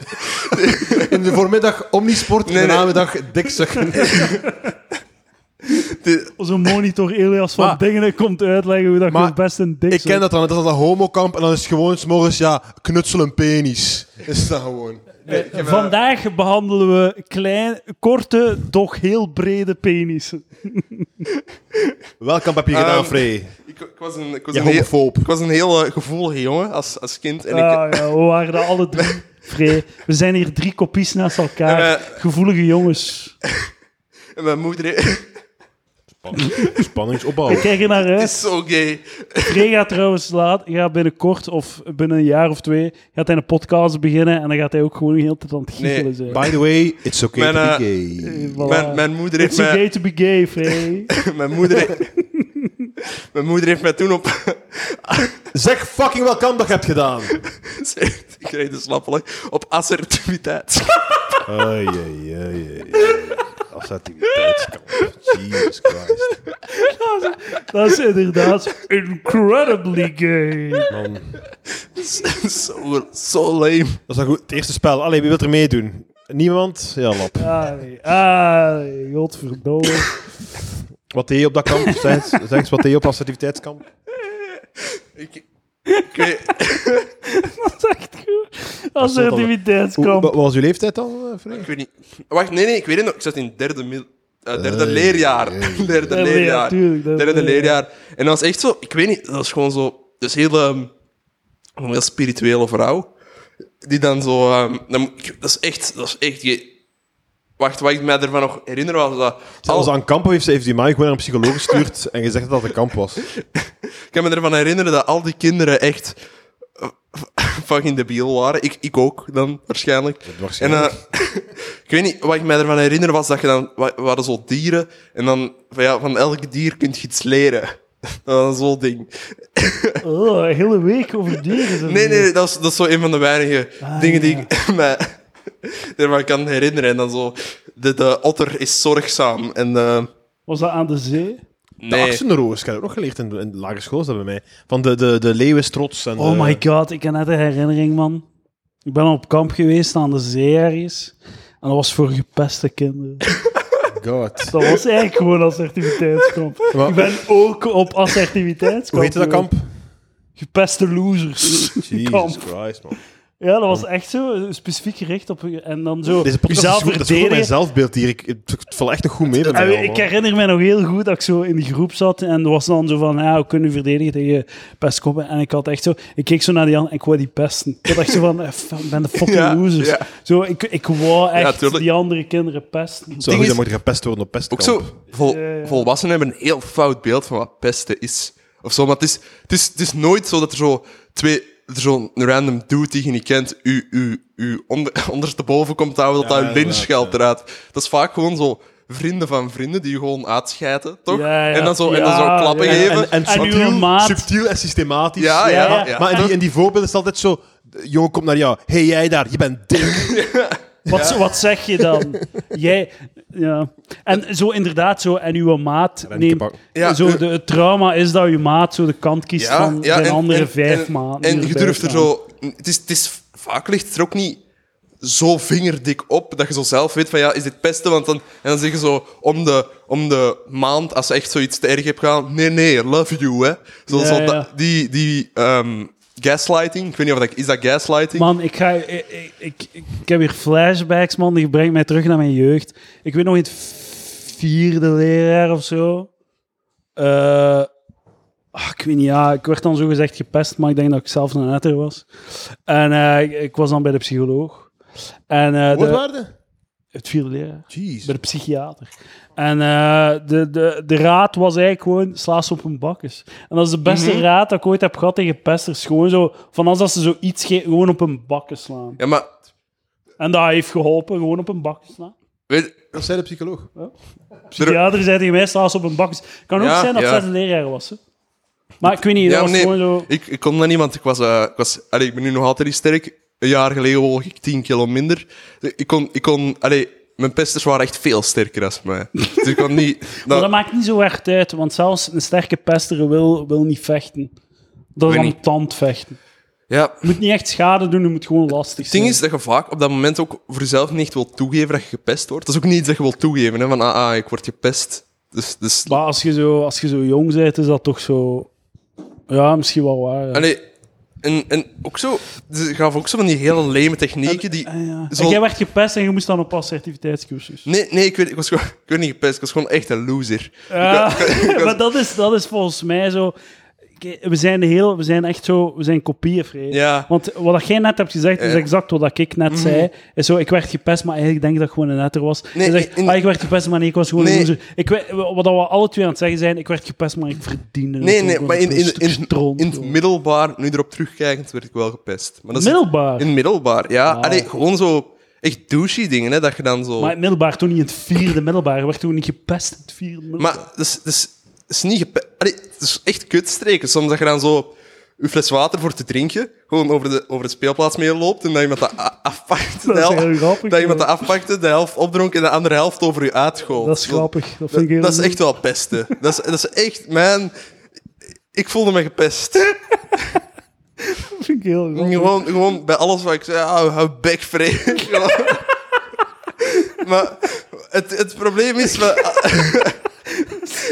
In de voormiddag omnisport, in
Nee,
de
nee.
namiddag dikzakken.
De-
Zo'n monitor Elias van
Maar-
Dingen komt uitleggen hoe dat je
Maar
het best een dik
Ik ken dat dan, dat is dat homokamp en dan is het gewoon s'morgens, ja, knutsel een penis. Is dat gewoon.
Vandaag behandelen we klein, korte, toch heel brede penissen.
Welk kamp heb je gedaan,
Ehm,
Frey?
ik, ik was een, ik was
Je
een heel,
homofoob. Eh.
ik was een heel eh, gevoelige jongen als, als kind. En ik,
Ah, ja, we waren dat alle drie vrij. We zijn hier drie kopies naast elkaar.
Ja, maar-
Gevoelige jongens.
en mijn moeder he-
Spanningsopbouw.
Ik kijk er naar uit.
is zo gay.
Frey gaat trouwens laat, gaat binnenkort of binnen een jaar of twee gaat hij een podcast beginnen en dan gaat hij ook gewoon de hele tijd aan het giechelen
Nee,
zijn.
By the way, it's okay
Mijn,
to be
eh,
Eh,
gay.
voilà.
Mijn, mijn moeder heeft
It's
mij...
okay to be gay, Frey.
Mijn moeder, he- mijn moeder heeft mij toen op...
Zeg fucking welk kamp dat je hebt gedaan.
ik kreeg de slappelijk. Op assertiviteit.
Ai, ai, ai, Assertiviteitskamp. Jesus Christ.
dat is inderdaad incredibly gay.
Man.
zo, zo lame.
Dat is wel goed. Het eerste spel. Allee, wie wil er meedoen? Niemand? Ja, lap.
Ah, nee. Ah, nee. godverdomme.
Wat deed je op dat kamp? Zeg eens, zeg eens wat deed je op assertiviteitskamp?
Ik, ik weet-
Dat is echt goed.
dat we- Hoe, wat
Assertiviteitskamp.
was uw leeftijd dan, eh, Frey?
ik weet niet. Wacht, nee, nee, ik weet het nog. Ik zat in het derde, mil- eh, derde leerjaar. derde
Ja,
leerjaar.
tuurlijk, dat-
derde
ja.
leerjaar. En dat was echt zo... Ik weet niet, dat was gewoon zo... Dus heel, ehm, een heel spirituele vrouw. Die dan zo... ehm, dan moet ik- dat is echt... Dat is echt ge- Wacht, wat ik mij ervan nog herinner was dat...
Als aan kampen heeft, heeft die mij gewoon naar een psycholoog gestuurd en gezegd dat dat een kamp was.
Ik kan me ervan herinneren dat al die kinderen echt eh, fucking debiel waren. Ik, ik ook dan, waarschijnlijk.
waarschijnlijk.
En, eh, ik weet niet, wat ik me ervan herinner was dat je dan... wa- waren zo dieren. En dan, van, ja, van elk dier kun je iets leren. Dat was zo'n ding.
Oh, een hele week over dieren. zijn
Nee,
we-
nee, dat is, dat is zo een van de weinige dingen die
ja.
ik me ervan kan herinneren. En dan zo... De, de otter is zorgzaam. En eh, de...
Was dat aan de zee?
De
Nee.
actionroos, ik heb ook nog geleerd in de, in de lagere school, is dat bij mij. Van de, de, de leeuw is trots. En
Oh
de-
my god, ik heb net een herinnering, man. Ik ben op kamp geweest aan de zee ergens. En dat was voor gepeste kinderen. Dat
god.
was eigenlijk gewoon assertiviteitskamp.
Maar-
Ik ben ook op assertiviteitskamp.
Hoe heette dat
geweest.
kamp?
Gepeste losers.
Jesus
kamp.
Christ, man.
Ja, dat was echt zo eh, specifiek gericht op. je- En dan zo.
Deze podcast
jezelf
is goed, dat is goed voor mijn
verdedigen.
zelfbeeld hier. Ik, het, het valt echt nog goed mee bij mij
En
allemaal.
ik herinner me nog heel goed dat ik zo in de groep zat en er was dan zo van, ja, we kunnen u verdedigen tegen pestkoppen. En ik had echt zo, ik keek zo naar die anderen en ik wou die pesten. Ik had echt zo van, eh, fuck, ik ben de fucking
Ja,
losers.
ja.
Zo, ik, ik wou echt
tuurlijk.
die andere kinderen pesten.
Zo
Ding
goed,
is-
dan moet je gepest worden op
Ook
pestkamp.
zo, vol,
Ja, ja.
volwassenen hebben een heel fout beeld van wat pesten is. Of zo, maar het is, het is, het is nooit zo dat er zo twee, dat er zo'n random dude die je niet kent, u, u, u onder, ondersteboven komt houden dat
Ja,
hij een lynch
inderdaad,
geldt eruit. Dat is vaak gewoon zo vrienden van vrienden die je gewoon uitschijten, toch?
Ja, ja.
En dan zo, en dan
Ja,
zo klappen
ja.
En,
geven.
en,
En uw
subtiel,
maat.
subtiel en systematisch.
ja, ja,
Ja,
ja.
ja.
Maar in die, in die voorbeelden is het altijd zo... de Jongen komt naar jou. hey, jij daar, je bent dik.
Wat, wat zeg je dan? Jij, ja. En zo inderdaad, zo, en uw maat
Remke
neemt...
bak.
Ja,
zo,
eh.
de, het trauma is dat uw maat zo de kant kiest
Ja,
van
ja,
zijn
en-
andere
en-
vijf
en-
maanden.
En je durft er zo... Het is, het is, vaak ligt het er ook niet zo vingerdik op dat je zo zelf weet van ja, is dit pesten? Want dan, en dan zeg je zo om de, om de maand, als je echt zoiets te erg hebt gedaan, nee, nee, love you, hè. Zo,
Ja,
zo
ja.
dat- die, die ehm, gaslighting, ik weet niet of dat... Is dat gaslighting?
Man, ik, ga, ik, ik, ik, ik heb weer flashbacks, man. Die brengt mij terug naar mijn jeugd. Ik weet nog in het vierde leraar of zo. Eh, ah, ik weet niet, ja. Ik werd dan zo gezegd gepest, maar ik denk dat ik zelf een netter was. En eh, ik, ik was dan bij de psycholoog. En, eh,
Wat
de-
waarde?
Het vierde leraar.
Jeez.
Bij de psychiater. En eh, de, de, de raad was eigenlijk gewoon, sla ze op hun bakjes. En dat is de beste
Mhm.
raad dat ik ooit heb gehad tegen pesters. Gewoon zo, van als dat ze zoiets ge- gewoon op hun bakken slaan.
Ja, maar
En dat heeft geholpen, gewoon op hun bakken slaan.
weet,
Dat zei de psycholoog.
Psychiater zei tegen mij, sla ze op hun bakken. Kan ook
Ja,
zijn dat
ja.
zij de leraar was. Hè. Maar ik weet niet, dat
ja,
was
nee,
gewoon zo...
ik, ik kon dat niet, want ik was, eh, ik, was allee, ik ben nu nog altijd niet sterk. Een jaar geleden woog ik 10 kilo minder. Ik kon, ik kon, allee, mijn pesters waren echt veel sterker dan mij. Dus ik kon niet.
Maar
dat-
dat maakt niet zo erg uit, want zelfs een sterke pester wil, wil niet vechten. Dat is dan
Weet niet.
tandvechten.
ja,
Je moet niet echt schade doen, je moet gewoon lastig
Het ding
zijn.
is dat je vaak op dat moment ook voor jezelf niet echt wil toegeven dat je gepest wordt. Dat is ook niet iets dat je wil toegeven, hè, van ah, ah, ik word gepest. Dus, dus...
Maar als je, zo, als je zo jong bent, is dat toch zo... Ja, misschien wel waar. ja.
Allee, en, en ook zo, ze gaven ook zo van die hele leme technieken die...
Ah, ja.
zo-
En jij werd gepest en je moest dan op assertiviteitscursus.
Nee, nee ik, werd, ik, was gewoon, ik werd niet gepest, ik was gewoon echt een loser.
Ja,
Ik wa- ik was-
maar dat is, dat is volgens mij zo... Kijk, We zijn, heel, we zijn echt zo... We zijn kopieën, Fred.
Ja.
Want wat dat jij net hebt gezegd, is
Ja. Mhm.
exact wat dat ik net zei. Is zo, ik werd gepest, maar eigenlijk denk ik dat ik gewoon een netter was.
Nee,
je zegt,
in-
ah, ik werd gepest, maar nee, ik was gewoon
Nee.
een loser. Ik, we- wat dat we alle twee aan het zeggen zijn, ik werd gepest, maar ik verdiende het
Nee,
ook
nee,
wel.
maar in,
Ik was
in,
een
in,
stuk stront,
in het
joh.
middelbaar, nu erop terugkijkend, werd ik wel gepest. Maar dat is-
Middelbaar?
In het middelbaar, ja.
Wauw.
Allee, gewoon zo echt douchey dingen, hè, dat je dan zo...
Maar in het middelbaar, toen niet in het vierde middelbaar, werd toen niet gepest in het vierde middelbaar.
Maar dat is, dat is, dat is niet gepe... Allee, het is echt kutstreken. Soms dat je dan zo een fles water voor te drinken, gewoon over de, over de speelplaats mee loopt en dat iemand dat a- afpakt.
Dat is
de hel-
heel grappig,
Dat iemand
ja.
dat afpakte, de helft opdronk en de andere helft over je uitgooit.
dat is grappig. Dat vind ik heel
Dat, dat is echt wel pesten. dat, is, dat is echt, man... Ik voelde me gepest.
Dat vind ik heel
Mm,
grappig.
Gewoon, gewoon bij alles wat ik zei, ah, hou, hou bek vreemd. maar het, het probleem is... we-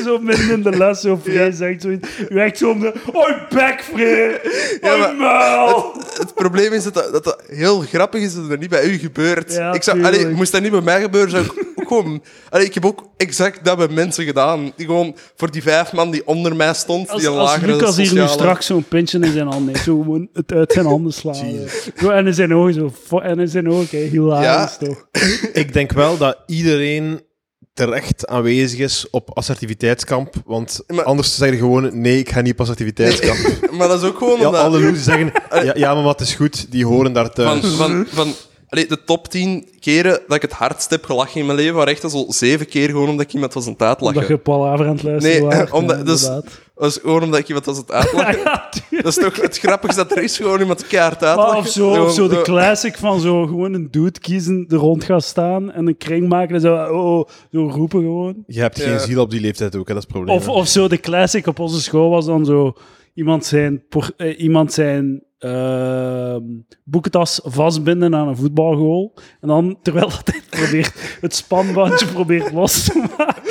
Zo midden in de les, zo vrij zegt zoiets. U echt zo om de... Oi, bek, vrij!
Ja,
Oi,
maar-
muil!
Het probleem is dat dat, dat dat heel grappig is dat het niet bij u gebeurt.
Ja,
ik zou,
tuurlijk.
allee, moest dat niet bij mij gebeuren, zou ik ook gewoon... Allee, ik heb ook exact dat bij mensen gedaan. Die gewoon voor die vijf man die onder mij stond,
Als,
die een
als
lagere
Lucas hier nu
sociale-
straks zo'n pintje in zijn handen heeft, zo gewoon het uit zijn handen slaan. eh. Zo, en in zijn ogen zo. fo- En in zijn ogen, hè. hilarisch
Ja.
toch.
Ik denk wel dat iedereen terecht aanwezig is op assertiviteitskamp, want
Maar-
anders zeggen ze gewoon nee, ik ga niet op assertiviteitskamp.
Maar dat is ook gewoon
Ja,
omdat...
alle losers zeggen ja, ja, maar wat is goed, die horen daar
Van,
thuis.
van, van, allee, de top 10 keren dat ik het hardst heb gelachen in mijn leven, waren echt al zo zeven keer gewoon omdat ik iemand was aan het uitlachen.
Omdat je Palaver aan het luisteren
Nee,
waart,
omdat,
ja,
dus,
inderdaad.
dat is gewoon omdat ik iemand was aan het uitlachen.
Ja, tuurlijk.
Dat is toch het grappigste dat er is, gewoon iemand keihard uitlachen.
Maar of zo,
Gewoon eh,
of zo de
zo.
classic van zo gewoon een dude kiezen, er rond gaan staan en een kring maken en zo, oh, oh, zo roepen gewoon.
Je hebt geen
Ja.
ziel op die leeftijd ook, hè, dat is het probleem.
Of,
hè.
of zo, de classic op onze school was dan zo: iemand zijn, por- eh, iemand zijn ehm, boekentas vastbinden aan een voetbalgoal. En dan, terwijl dat hij probeert, het spanbandje probeert los te maken,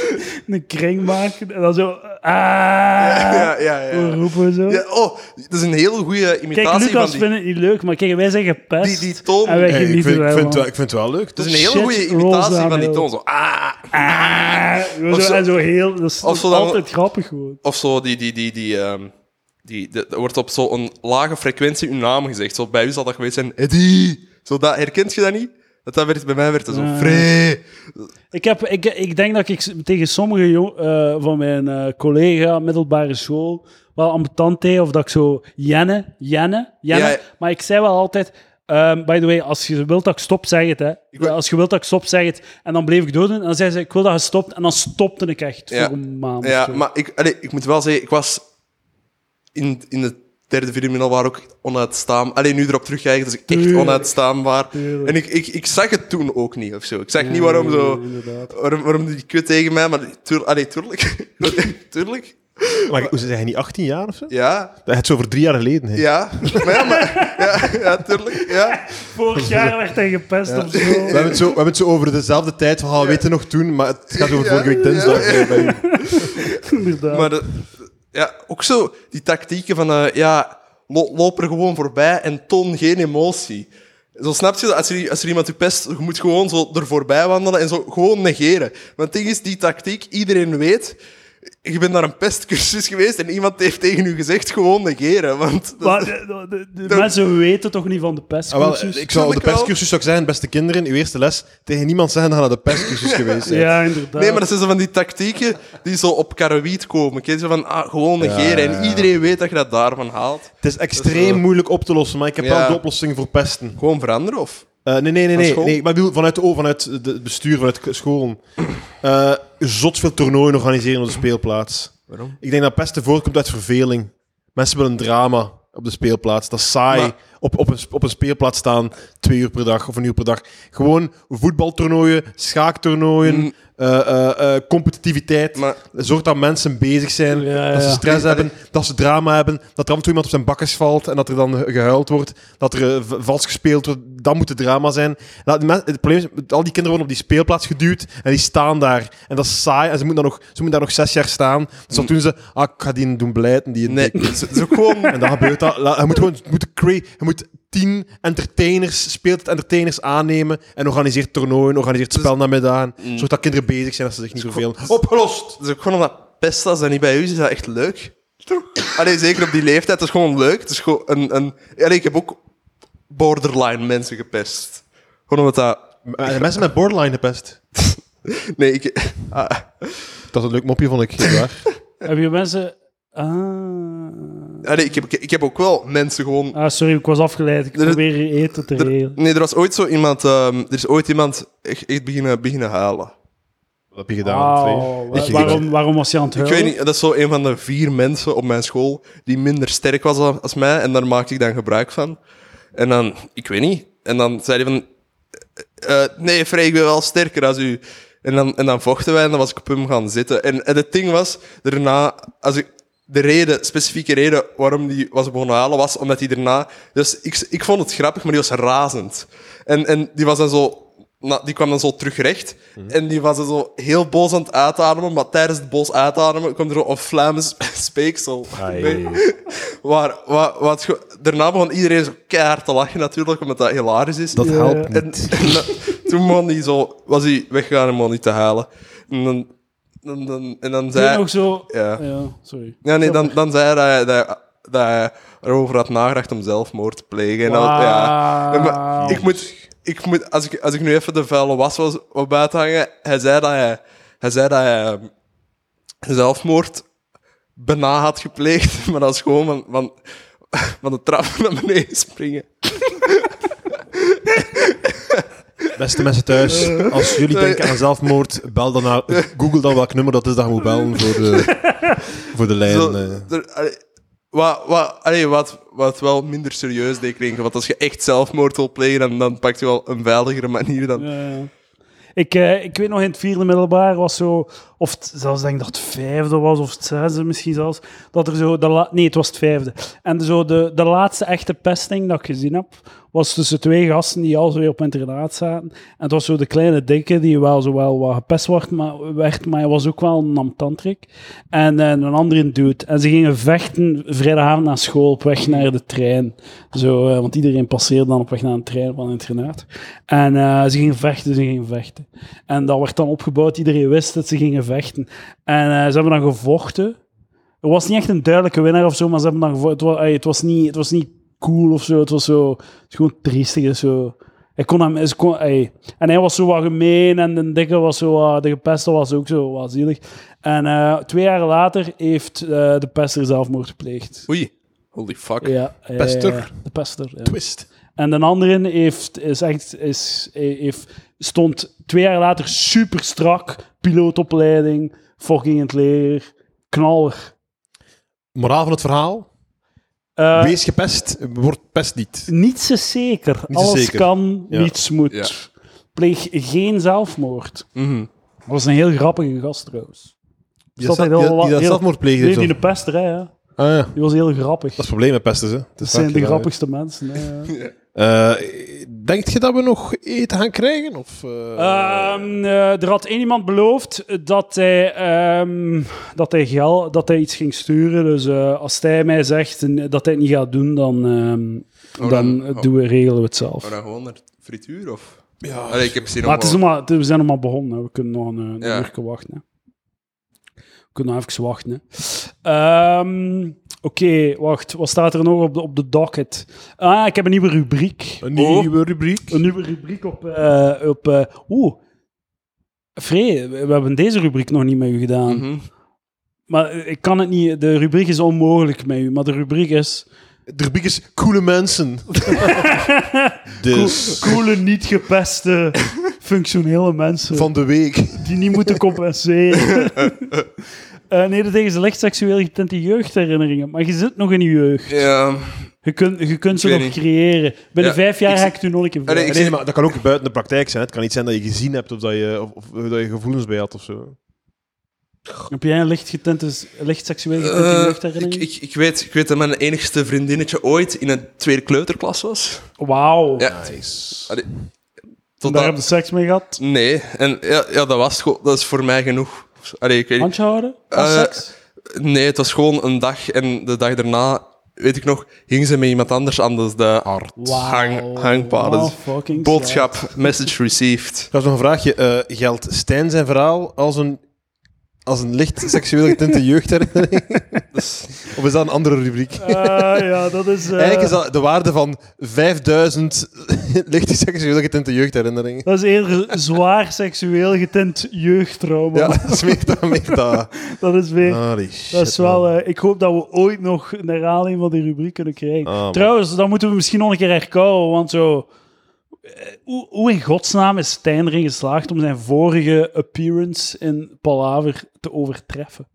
een kring maken. En dan zo: ah,
Ja, ja, ja.
we roepen zo.
Ja, oh, dat is een heel goede imitatie
Kijk, Lucas
van die.
vindt het niet leuk, maar kijk, wij zijn gepest.
Die- die toon.
En wij
Hey, ik,
genieten
vind, ik,
ervan.
vind, het wel- ik vind het wel leuk.
Dat
toch?
is een hele
shit,
goede
roze
imitatie van die
aanbeeld.
toon. Zo, ah,
Ah, zo,
Of zo-
en zo heel, dat is
of zo dan-
altijd grappig gewoon.
Of zo, die, die, die, die, ehm, die, de- er wordt op zo'n lage frequentie uw naam gezegd. Zo, bij u zal dat geweest zijn, Eddie. Zo, dat, herkent je dat niet? Dat, dat werd, bij mij werd dat zo, Free.
Ik, heb, ik, ik denk dat ik s- tegen sommige jo- eh, van mijn eh, collega middelbare school wel ambetant deed, of dat ik zo jenne, jenne, jenne.
Ja, ja.
Maar ik zei wel altijd, ehm, by the way, als je wilt dat ik stop, zeg het. Hè.
wil-
Als je wilt dat ik stop, zeg het. En dan bleef ik doordoen en dan zei ze, ik wil dat je stopt. En dan stopte ik echt
Ja.
voor een maand. of
Ja,
zo.
maar ik, allee, ik moet wel zeggen, ik was in, in de derde, vierde middelbaar ook onuitstaanbaar. Alleen nu erop terugkijken, dus ik echt
Tuurlijk.
onuitstaanbaar.
Tuurlijk.
En ik, ik, ik zag het toen ook niet of zo. Ik zag
Ja,
niet waarom zo.
inderdaad.
Waarom, waarom die kut tegen mij, maar tuur, allee, tuurlijk. tuurlijk.
Maar hoe zijn jij niet 18 jaar of zo?
Ja,
Dat Het is over drie jaar geleden. hè.
ja. Maar ja, maar, ja, ja, tuurlijk. Ja.
Vorig jaar werd hij gepest of zo.
We hebben, het zo, we hebben het zo over dezelfde tijd. We gaan weten nog toen, maar het gaat over
Ja,
vorige week dinsdag.
ja.
eh, bij u.
Inderdaad.
Maar eh, ja, ook zo die tactieken van eh, ja, lo- loop er gewoon voorbij en toon geen emotie. Zo snap je dat als er, als er iemand je pest, je moet gewoon zo er voorbij wandelen en zo gewoon negeren. Want het ding is, die tactiek, iedereen weet, je bent naar een pestcursus geweest en iemand heeft tegen u gezegd gewoon negeren. Want dat-
Maar de, de- de- de mensen weten toch niet van de
Ah, wel,
pestcursus?
ik zou op de
Tuurlijk wel.
perscursus zou ik zeggen, beste kinderen, uw eerste les, tegen niemand zeggen dat je naar de perscursus geweest bent.
ja, inderdaad.
eh,
Nee, maar dat zijn zo van die tactieken die zo op karrewiet komen. Ken je, zo van ah, gewoon
Ja,
negeren.
ja,
En
ja.
iedereen weet dat je dat daarvan haalt.
Het is extreem
Dus, eh,
moeilijk op te lossen, maar ik heb
ja.
wel de oplossing voor pesten.
Gewoon veranderen of?
Eh, nee, nee, nee,
Van
nee,
school?
nee. Maar ik bedoel, vanuit, de- oh, vanuit de- het bestuur, vanuit k- scholen. Eh zot veel toernooien organiseren op de speelplaats.
Waarom?
Ik denk dat pesten voortkomt uit verveling. Mensen willen drama op de speelplaats. Dat is saai.
Maar-
Op, op, een, sp- op een speelplaats staan twee uur per dag of een uur per dag. Gewoon voetbaltoernooien, schaaktoernooien,
Mm.
eh, eh, eh, competitiviteit.
Maar
Zorg dat mensen bezig zijn,
Ja,
dat ze
ja.
stress hebben, dat ze drama hebben, dat er af en toe iemand op zijn bakkes valt en dat er dan gehuild wordt, dat er eh, v- vals gespeeld wordt. Dat moet het drama zijn. Laat de men- het probleem is, al die kinderen worden op die speelplaats geduwd en die staan daar. En dat is saai en ze moeten daar nog, ze moeten daar nog zes jaar staan. Dus dan doen ze, ah, ik ga die doen blijten, die een
nee,
dik.
het is- het is ook gewoon...
En dan gebeurt dat. La- Je moet gewoon, je moet, cra- je moet tien entertainers, speelt het entertainers aannemen en organiseert toernooien, organiseert spelnamiddagen. Zorg dat kinderen bezig zijn, dat ze zich niet zoveel... Opgelost!
Het is ook gewoon omdat pesta dat niet bij u is, is dat echt leuk. Allee, zeker op die leeftijd, dat is gewoon leuk. Het is gewoon een, een... Allee, ik heb ook borderline mensen gepest. Gewoon omdat dat...
Maar Eh, de mensen met borderline gepest.
Nee, ik... Ah,
Dat is een leuk mopje, vond ik. niet waar?
Heb je mensen... Ah.
allee, ik, heb, ik heb ook wel mensen gewoon
Ah, sorry, ik was afgeleid. Ik
Er is-
probeer hier eten te
Er,
regelen.
nee, er was ooit zo iemand. ehm, er is ooit iemand echt, echt beginnen, beginnen huilen.
Wat heb je
Wauw,
gedaan? Twee?
Oh, wa-
Ik-
waarom, waarom was je aan het
Ik
huilen?
weet niet, dat is zo een van de vier mensen op mijn school die minder sterk was dan- als mij. En daar maakte ik dan gebruik van. En dan, ik weet niet. En dan zei hij van. eh, eh, nee, Frey, ik ben wel sterker als u. En dan, en dan vochten wij en dan was ik op hem gaan zitten. En, en het ding was, daarna, als ik. De reden, specifieke reden waarom die was begonnen halen was omdat hij daarna. Dus ik, ik vond het grappig, maar die was razend. En, en die was dan zo. na- die kwam dan zo terug recht.
Mhm.
En die was dan zo heel boos aan het uitademen. Maar tijdens het boos uitademen kwam er zo een Vlaams speeksel.
Ai.
Waar, wa- wat, ge- daarna begon iedereen zo keihard te lachen natuurlijk, omdat dat hilarisch is.
Dat
Ja.
helpt
en,
niet.
en dan- toen begon hij zo, was hij weggegaan om al niet te halen. En dan, dan, dan, en dan
Ik weet
zei
nog zo...
Ja.
sorry.
ja, nee, dan, dan zei hij dat hij, dat, hij- dat hij erover had nagedacht om zelfmoord te plegen. En dan- ja. Ja, maar ik moet, ik moet als, ik, als ik nu even de vuile was was op buiten hangen, hij zei dat hij, hij, zei dat hij ehm, zelfmoord bijna had gepleegd, maar dat is gewoon van, van, van de trap naar beneden springen.
Beste mensen thuis, als jullie
Nee.
denken aan zelfmoord, bel dan naar... Google dan welk nummer dat is dat je moet bellen voor de, voor de lijn.
Zo,
eh.
er- allee, wa- wa- allee, wat, wat wel minder serieus deed klinken, want als je echt zelfmoord wil plegen, dan, dan pak je wel een veiligere manier dan...
Ja, ja. Ik, eh, ik weet nog in het vierde middelbaar was zo, of het- zelfs denk ik dat het vijfde was, of het zesde misschien zelfs, dat er zo, de la- nee het was het vijfde, en zo de, de laatste echte pesting dat ik gezien heb, was tussen twee gasten die al zo weer op internaat zaten. En het was zo de kleine dikke die wel zo wel wat gepest werd, maar, werd, maar hij was ook wel een namtantrik. En, eh, een andere dude. En ze gingen vechten vrijdagavond naar school op weg naar de trein. Zo, eh, want iedereen passeerde dan op weg naar een trein van het internaat. En eh, ze gingen vechten, ze gingen vechten. En dat werd dan opgebouwd, iedereen wist dat ze gingen vechten. En eh, ze hebben dan gevochten. Er was niet echt een duidelijke winnaar of zo, maar ze hebben dan gevochten. Het was, ey, het was, niet, het was niet cool of zo, het was zo... Het is gewoon triestig, het is zo... Hij kon hem, ze kon, ey. En hij was zo wat gemeen en de dikke was zo wat- De gepeste was ook zo wat zielig. En eh, twee jaar later heeft eh, de pester zelfmoord gepleegd.
Oei, holy fuck.
Ja, ja,
Pester?
ja, de pester, ja.
Twist.
En de andere heeft, is echt, is, heeft, stond twee jaar later super strak. Pilootopleiding, fucking in het leger, knaller.
Moraal van het verhaal?
Eh,
Wees gepest, word pest niet.
niets is zeker.
Niets is
Alles
zeker.
kan,
Ja.
niets moet.
Ja.
Pleeg geen zelfmoord.
Mhm.
Dat was een heel grappige gast trouwens.
Die
Zat
dat,
hij
die,
wel
dat- die
wat-
dat
heel-
zelfmoord pleegde.
Nee,
zo.
die de pester, hè. ja.
Ah, ja. Dat
Die was heel grappig.
is het probleem met pesten, hè. Het
Dat
is
zijn
vaak
de
gedaan, hè.
grappigste mensen. hè, ja.
Eh, denkt je dat we nog eten gaan krijgen? Of, eh,
Ehm, eh, er had één iemand beloofd dat hij, ehm, dat, hij gel, dat hij iets ging sturen. Dus eh, als hij mij zegt en- dat hij het niet gaat doen, dan, ehm,
Oh,
dan,
dan-
eh,
oh.
doen we, regelen we het zelf.
Maar dan gewoon naar frituur, of?
ja.
Allee, ik heb zin om...
maar het is
wel-
nog maar, het- we zijn nog maar begonnen. hè. We kunnen nog eh, een, een
Ja.
uurtje wachten. hè. We kunnen nog even wachten. hè. Ehm, Oké, wacht. Wat staat er nog op de, op de docket? Ah, ik heb een nieuwe rubriek.
Een
Oh.
nieuwe rubriek.
Een nieuwe rubriek op... eh, op eh, Oeh. Free, we we hebben deze rubriek nog niet met u gedaan.
Mhm.
Maar eh, ik kan het niet... De rubriek is onmogelijk met u, maar de rubriek is...
De rubriek is coole mensen. dus
Coole, niet gepeste, functionele mensen.
van de week.
die niet moeten compenseren. Eh, nee, dat tegen slecht seksueel getinte jeugdherinneringen. Maar je zit nog in je jeugd.
Ja.
Je kunt, je kunt ze
Ik
nog
weet niet.
creëren. Binnen
Ja,
vijf jaar
ik
ga
zie-
ik toen nog een keer
Allee,
vragen.
Ik
nee,
zeg-
maar dat kan ook buiten de praktijk zijn. Het kan niet zijn dat je gezien hebt of dat je, of, of dat je gevoelens bij had of zo.
Heb jij een licht, getinte, licht seksueel getinte
Eh, ik,
jeugdherinnering?
ik, ik, weet, ik weet dat mijn enigste vriendinnetje ooit in een tweede kleuterklas was.
Wauw.
Ja.
Nice.
Allee,
Daar
tot
heb
dat,
je seks mee gehad.
nee, en ja, ja, dat was gewoon, dat is voor mij genoeg. Allee, ik weet niet.
Handje houden? Als
Eh,
seks?
Nee, het was gewoon een dag en de dag daarna, weet ik nog, hing ze met iemand anders aan dus de hart.
Wauw.
Hang, hangpaden.
Wauw, fucking
Boodschap, message received.
Dat is nog een vraagje. Eh, geldt Stijn zijn verhaal als een, als een licht seksueel getinte jeugdherinnering? of is dat een andere rubriek?
slecht. Eh, ja, dat is... eh,
Eigenlijk is dat de waarde van 5000 licht seksueel getinte jeugdherinneringen.
dat is eerder zwaar seksueel getint jeugdtrauma.
Ja, smeek dat, smeek dat.
Dat is
Ah.
weer...
Holy
Dat
shit,
is wel,
man.
eh, ik hoop dat we ooit nog een herhaling van die rubriek kunnen krijgen.
Ah, man.
Trouwens, dan moeten we misschien nog een keer herkouwen, want zo... eh, Hoe, hoe in godsnaam is Stijn erin geslaagd om zijn vorige appearance in Palaver te overtreffen?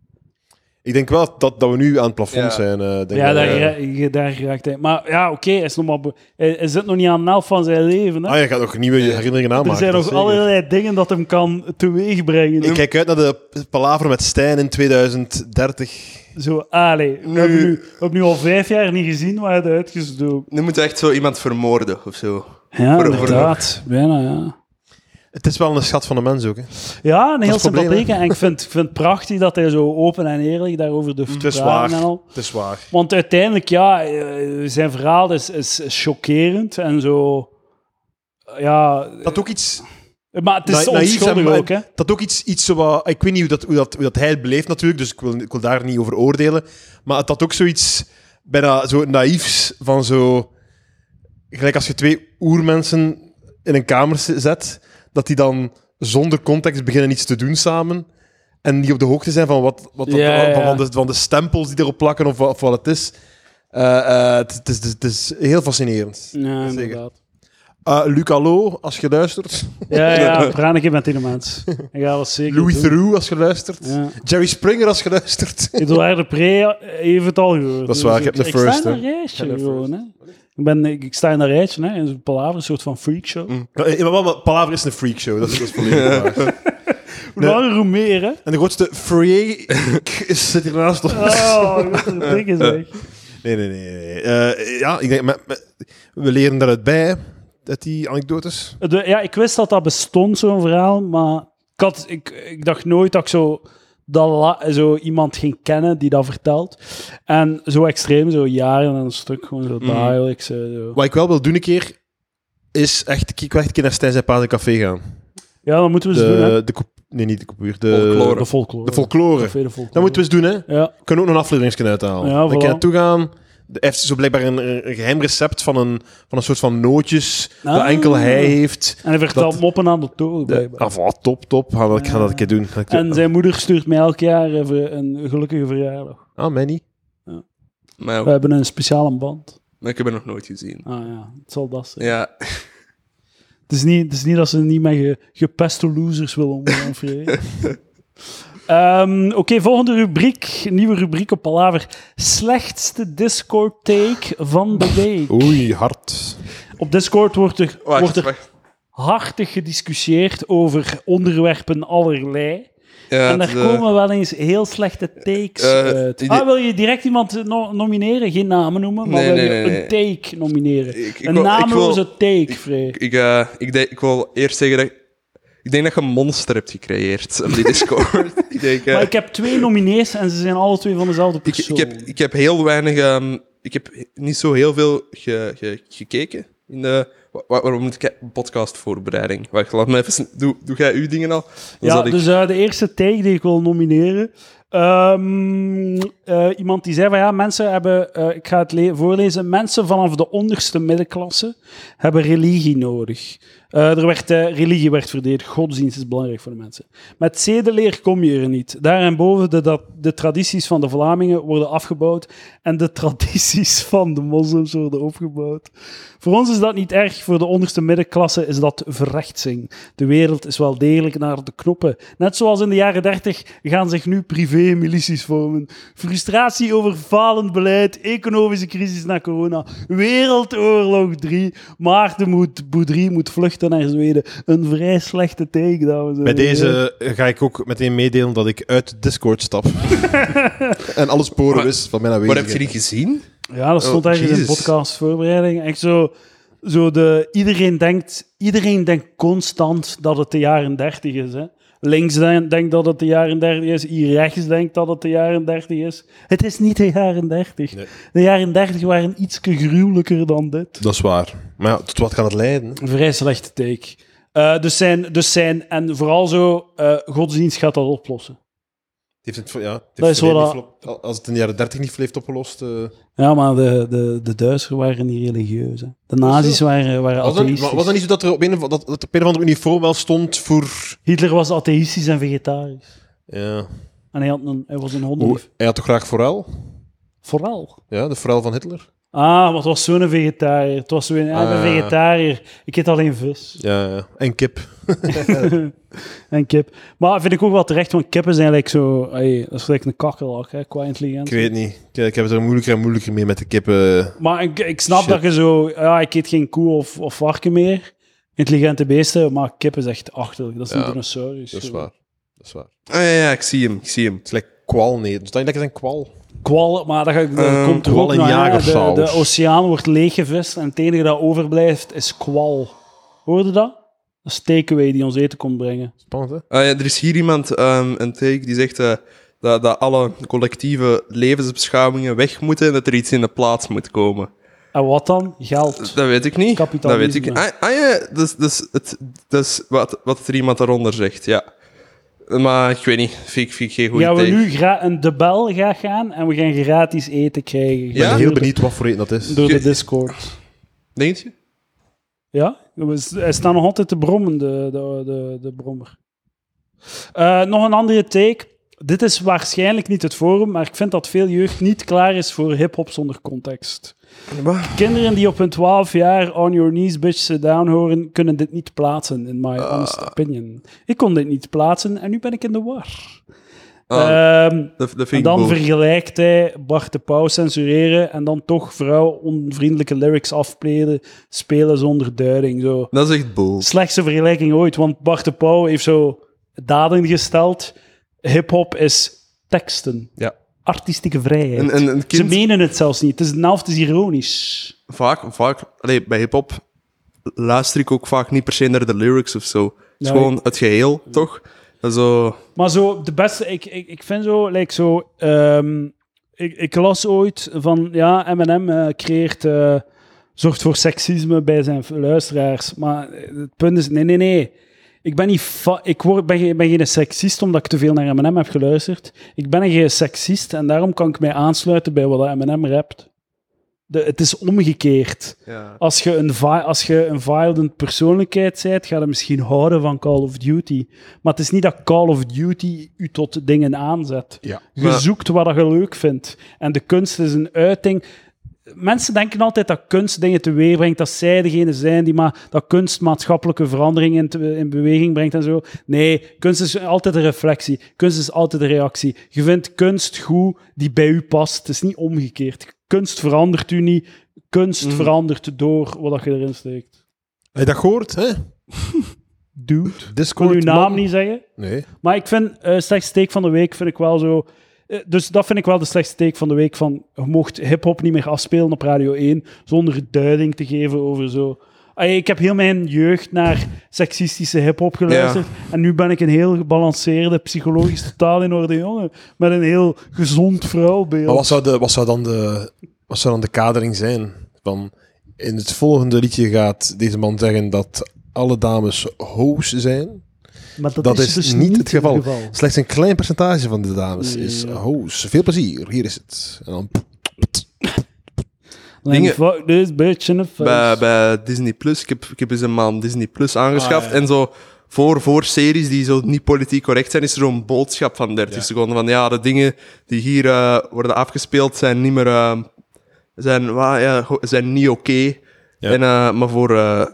Ik denk wel dat, dat we nu aan het plafond
Ja.
zijn. eh, denk
ja,
ik.
daar, ra- daar raakt hij. Maar ja, oké, hij, is nog maar be- hij, hij zit nog niet aan de helft van zijn leven. Hè?
Ah, je gaat nog nieuwe herinneringen aanmaken.
er zijn
dat
nog
zeker.
allerlei dingen dat hem kan teweegbrengen.
Ik kijk uit naar de palaver met Stijn in 2030.
Zo, allee, we,
Nu-
hebben nu, we hebben nu al vijf jaar niet gezien waar het uitgestoken.
Nu moet je echt zo iemand vermoorden of zo.
Ja,
Voor- voor-
inderdaad. Bijna, ja.
Het is wel een schat van een mens ook. Hè.
Ja, een heel
het probleem,
sympathieke. En ik vind, ik vind het prachtig dat hij zo open en eerlijk daarover durft
Het is
te praten. en
waar.
al.
Het is waar.
Want uiteindelijk, ja, eh, zijn verhaal is, is is chockerend en zo... Ja,
Dat ook iets
maar het is
na- naïef,
onschuldig
hè, maar
ook, hè.
Dat ook iets, iets zo wat... Ik weet niet hoe dat, hoe dat, hoe dat hij het beleeft natuurlijk, dus ik wil, ik wil daar niet over oordelen. Maar het had ook zoiets bijna zo naïefs van zo... Gelijk als je twee oermensen in een kamer z- zet, dat die dan zonder context beginnen iets te doen samen. En die op de hoogte zijn van, wat, wat, wat-
Ja, ja.
van, van de, van de stempels die erop plakken of, wa- of wat het is. Eh, eh, het, het is het is heel fascinerend.
Ja,
Zeker.
inderdaad.
Eh Luc Allo, als je luistert.
Ja, ja, praat een keer met die mens. Ik ga dat zeker
Louis
doen.
Theroux, als je luistert.
Ja.
Jerry Springer als geluisterd.
Eduard de Pre heeft het al gehoord.
Dat is waar, ik heb
Dus
de first,
Ik sta in
hè.
een rijtje
Ik heb de
gewoon, hè. Ik, ben, ik, ik sta in een rijtje, hè. In zo'n palaver, een soort van freakshow.
maar, maar, maar eh, Palaver is een freakshow, dat is dat is volledig waar.
Hoe langer, hoe meer, hè.
En de grootste freak is- zit hiernaast ons.
Oh, wat een ding is, echt.
Nee, nee, nee. nee. Eh, ja, ik denk, maar- maar we leren daaruit bij, dat die anekdotes.
De- ja, ik wist dat dat bestond, zo'n verhaal, maar ik, had, ik, ik dacht nooit dat ik zo, dat la- zo iemand ging kennen die dat vertelt. En zo extreem, zo jaren aan een stuk, gewoon zo dagelijks. eh, Zo.
Wat ik wel wil doen een keer, is echt, ik wil echt een keer naar Stijn zijn Paardencafé gaan.
Ja, dat moeten we eens doen, hè.
De, de coup- nee, niet de coupure. De
Folklore.
De folklore.
De folklore.
Café de folklore.
Dat moeten we eens doen, hè.
Ja,
We kunnen ook nog een aflevering uithalen.
Ja,
Ja, dan
voilà.
kan je naartoe gaan. De- Hij heeft zo blijkbaar een, een geheim recept van een, van een soort van nootjes dat
Ah.
enkel hij heeft.
en hij vertelt
Dat-
moppen aan de toren.
De,
blijkbaar.
ah, voilà, top, top. Ga dat, ik ga dat een keer doen. Ga ik doen.
En zijn moeder stuurt mij elk jaar even een gelukkige verjaardag.
Ah, mij niet.
Maar
We hebben een speciale band.
maar ik heb haar nog nooit gezien.
Ah ja, het zal dat zijn.
Ja,
Het is niet, het is niet dat ze niet met ge, gepeste losers willen omgaan, Frederik. Ehm, Oké, volgende rubriek. Nieuwe rubriek op Palaver. Slechtste Discord take van de week.
Oei, hard.
Op Discord wordt er, wordt
wacht,
er
wacht.
hartig gediscussieerd over onderwerpen allerlei.
Ja,
en daar
het, eh,
komen wel eens heel slechte takes
eh,
uit.
die-
Ah, wil je direct iemand no- nomineren? Geen namen noemen, maar
Nee,
wil je
nee, nee,
een take nomineren?
Ik- ik
een
wil- ik wil-
nameloze take, Frey.
Ik, ik, eh, ik, denk- ik wil eerst zeggen dat... ik- Ik denk dat je een monster hebt gecreëerd op die Discord. ik, denk, eh,
Maar ik heb twee nominees en ze zijn alle twee van dezelfde
ik,
persoon.
ik, heb, ik heb heel weinig... ehm, ik heb niet zo heel veel ge- ge- gekeken in de wa- wa- waarom moet ik podcastvoorbereiding? Wacht, laat me even... sn- Doe, doe jij uw dingen al? Dan
Ja,
zal ik...
dus eh, de eerste tag die ik wil nomineren. Ehm, eh, iemand die zei van ja, mensen hebben, eh, ik ga het le- voorlezen, mensen vanaf de onderste middenklasse hebben religie nodig. Eh, er werd, eh, religie werd verdedigd, godsdienst is belangrijk voor de mensen. Met zedeleer kom je er niet. Daarboven de, dat, de tradities van de Vlamingen worden afgebouwd en de tradities van de moslims worden opgebouwd. Voor ons is dat niet erg, voor de onderste middenklasse is dat verrechtsing. De wereld is wel degelijk naar de knoppen. Net zoals in de jaren 30 gaan zich nu privé-milities vormen. Frustratie over falend beleid, economische crisis na corona, Wereldoorlog 3, Maarten moet, Boudry moet vluchten naar Zweden. Een vrij slechte take, dames en
Bij
heren.
deze eh, ga ik ook meteen meedelen dat ik uit Discord stap. en alle sporen
Maar-
wist van mijn
Maar heb je
aanwezigheid.
die gezien?
Ja, dat stond
Oh,
eigenlijk in de
Jezus.
podcastvoorbereiding. Echt zo, zo de, iedereen, denkt, iedereen denkt constant dat het de jaren 30 is. Hè? Links de- denkt dat het de jaren 30 is, hier rechts denkt dat het de jaren 30 is. Het is niet de jaren 30.
Nee.
De jaren 30 waren iets gruwelijker dan dit.
Dat is waar. Maar ja, tot wat kan het leiden? hè?
Een vrij slechte take. Eh, dus, zijn, dus zijn, en vooral zo, eh, godsdienst gaat dat oplossen.
Het heeft het, ja, het heeft
Dat is
het verleden
wel-
niet verlo- Als het in de jaren 30 niet heeft opgelost. eh
Ja, maar de, de, de Duitsers waren niet religieus. Hè. De nazi's waren, waren
was, dat, niet-
atheïstisch.
maar was dat niet zo dat er op een, of- dat, dat er op een of andere uniform wel stond voor.
Hitler was atheïstisch en vegetarisch.
Ja.
En hij, had een, hij was een
Hoe,
hondenlief.
hij had toch graag forel?
Vooral.
Ja, de forel van Hitler.
Ah, maar het was zo'n vegetariër. Het was zo'n... ik ben
Ah.
vegetariër. Ik eet alleen vis.
Ja, ja. En kip.
En kip. Maar vind ik ook wel terecht, want kippen zijn like zo... ey, dat is gelijk een kakkelak, hè, qua intelligentie.
Ik weet niet. Ik, ik heb het er moeilijker en moeilijker mee met de kippen. eh,
Maar ik, ik snap
Shit.
dat je zo... Ja, ik eet geen koe of, of varken meer. Intelligente beesten, maar kippen is echt achterlijk. Dat is
Ja,
een dinosaurus.
Dat is
Zo.
waar. Dat is waar. Het
Ah, ja, ja, ik zie hem, ik zie hem.
is lekker kwal nee. Dus dat je lekker zijn kwal.
Kwallen, maar dat, ga ik- dat
Eh,
komt er
kwal
ook
en
naar, hè.
jagersaus.
De, de oceaan wordt leeggevist en het enige dat overblijft is kwal. Hoorde dat? Dat is takeaway die ons eten komt brengen.
Spannend, hè?
Ah, ja, er is hier iemand, ehm, een take, die zegt eh, dat, dat alle collectieve levensbeschouwingen weg moeten en dat er iets in de plaats moet komen.
En wat dan? Geld.
Dat weet ik niet. Dat weet
Kapitalisme.
ik. Ah, ah ja, dus, dus, het, dus wat, wat er iemand daaronder zegt, ja. Maar ik weet niet, vind ik, vind ik geen goede
Gaan we
take.
nu gra- een de bel gaan gaan en we gaan gratis eten krijgen.
Ik ben
Ja?
Door
heel
de-
benieuwd wat voor eten dat is.
Door de
Je-
Discord.
Denk je?
Ja? We s- Hij staat nog altijd te brommen, de, de, de, de brommer. Eh, nog een andere take. Dit is waarschijnlijk niet het forum, maar ik vind dat veel jeugd niet klaar is voor hip-hop zonder context. Kinderen die op hun 12 jaar on your knees, bitch, sit down horen, kunnen dit niet plaatsen, in
Eh.
my honest opinion. Ik kon dit niet plaatsen en nu ben ik in de war.
Ah,
Ehm,
dat, dat
En
vind ik
dan
boos.
vergelijkt hij Bart de Pauw censureren en dan toch vrouw onvriendelijke lyrics afspelen spelen zonder duiding. Zo.
Dat is echt boos.
Slechtste vergelijking ooit, want Bart de Pauw heeft zo daden gesteld. Hip-hop is teksten,
Ja.
artistieke vrijheid.
En, en een
Ze
kind,
menen het zelfs niet. Het is, de helft is ironisch.
vaak, vaak allee, bij hip-hop luister ik ook vaak niet per se naar de lyrics of zo. Het is
Nee.
gewoon het geheel, toch? Dat is Zo,
Maar zo, de beste, ik, ik, ik vind zo, like zo ehm, ik, ik las ooit van, ja, M&M eh, creëert, eh, zorgt voor seksisme bij zijn luisteraars. Maar het punt is, nee, nee, nee. Ik ben, niet fa- ik word, ben, geen- ben geen seksist omdat ik te veel naar M&M heb geluisterd. Ik ben geen seksist en daarom kan ik mij aansluiten bij wat M&M rapt. De, het is omgekeerd.
ja.
Als je een, vi- als je een violent persoonlijkheid bent, ga je misschien houden van Call of Duty. Maar het is niet dat Call of Duty u tot dingen aanzet.
Ja.
Je
Maar-
zoekt wat je leuk vindt. En de kunst is een uiting. Mensen denken altijd dat kunst dingen teweeg brengt, dat zij degene zijn die maar dat kunst maatschappelijke veranderingen in, te- in beweging brengt en zo. Nee, kunst is altijd een reflectie. Kunst is altijd een reactie. Je vindt kunst goed die bij u past. Het is niet omgekeerd. Kunst verandert u niet. Kunst verandert door wat dat je erin steekt.
Heb je dat gehoord, hè?
Dude. Ik
Discord.
wil uw naam
man.
niet zeggen.
Nee.
Maar ik vind eh slechtste steek van de week vind ik wel zo. eh, Dus dat vind ik wel de slechtste steek van de week. Van, je mocht hip-hop niet meer afspelen op Radio 1 zonder duiding te geven over zo. Ay, Ik heb heel mijn jeugd naar seksistische hip-hop geluisterd. En nu ben ik een heel gebalanceerde, psychologisch totaal in orde jongen. Met een heel gezond vrouwbeeld.
Maar wat zou, de, wat, zou dan de, wat zou dan de kadering zijn? Van In het volgende liedje gaat deze man zeggen dat alle dames hoos zijn.
Maar dat,
Dat
is,
is
dus
niet het geval.
Het geval.
Slechts een klein percentage van de dames
Nee,
is
ja.
hoos. Veel plezier, hier is het. En dan
Like,
Dingen-
fuck this bitch in the face.
bij, bij Disney Plus. Ik heb, ik heb eens een maand Disney Plus aangeschaft.
Ah, ja.
En zo voor, voor series die zo niet politiek correct zijn, is er zo'n boodschap van 30 seconden. Van ja, de dingen die hier eh, worden afgespeeld zijn niet meer. eh, zijn, wa- ja, go- zijn niet oké.
Ja.
En, eh, maar voor. eh,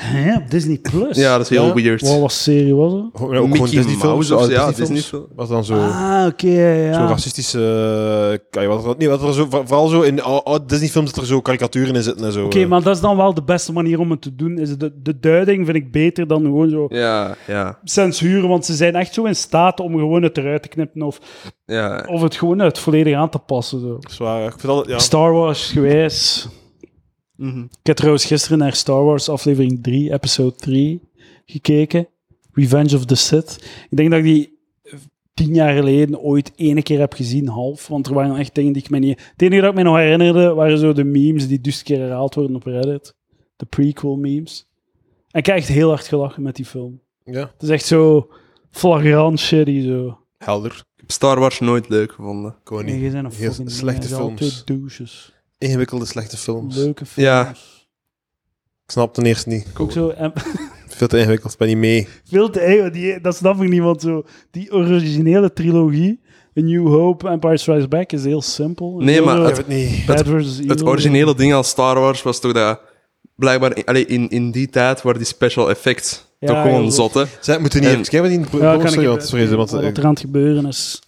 Hè, op Disney Plus?
ja, dat is heel
Ja.
weird.
Wat was serie was er?
ook gewoon
Mickey
Disney-films,
Mouse of
oude
zo, ja,
Disney-films.
Disney-film.
Wat dan zo...
Ah, oké, ja, ja.
Zo'n racistische... eh, kan je wat, nee, wat er zo, vooral zo in oude oude Disney-films dat er zo karikaturen in zitten en zo. eh.
Oké, maar dat is dan wel de beste manier om het te doen. Is de, de duiding vind ik beter dan gewoon zo
Ja, ja,
censuren, want ze zijn echt zo in staat om gewoon het eruit te knippen of,
ja.
of het gewoon uit volledig aan te passen. Zo.
Zwaar, ik vind dat... Ja.
Star Wars gewijs.
Mhm.
Ik heb trouwens gisteren naar Star Wars aflevering 3, episode 3 gekeken. Revenge of the Sith. Ik denk dat ik die tien jaar geleden ooit ene keer heb gezien, half. Want er waren echt dingen die ik me niet... Het enige dat ik me nog herinnerde, waren zo de memes die dus keer herhaald worden op Reddit. De prequel memes. En ik heb echt heel hard gelachen met die film.
ja.
Het is echt zo flagrant shitty, zo.
Helder.
Ik heb Star Wars nooit leuk gevonden.
Gewoon
Nee,
niet.
je zijn een
Heel
fucking
slechte
jij zijn
films.
altijd douches.
Ingewikkelde, slechte films.
Leuke films.
Ja.
Ik snap ten eerste niet.
Ook zo... en-
Veel te ingewikkeld, ben niet mee.
Veel te eeuw, die, dat snap ik niet, want zo, die originele trilogie, A New Hope, Empire Strikes Back, is heel simpel.
Nee,
Heel
maar
zo,
Ik
het-
heb het niet.
Bad versus Evil.
Het originele ding aan Star Wars was toch dat. Blijkbaar, allee, in, in die tijd waren die special effects
Ja,
toch gewoon
heel goed.
zotte.
Zij moeten niet
En-
even kijken in de pro-
Ja, kan
pro-
ik
sorry,
even-
want- sorry, want,
wat
eh,
er aan het gebeuren is.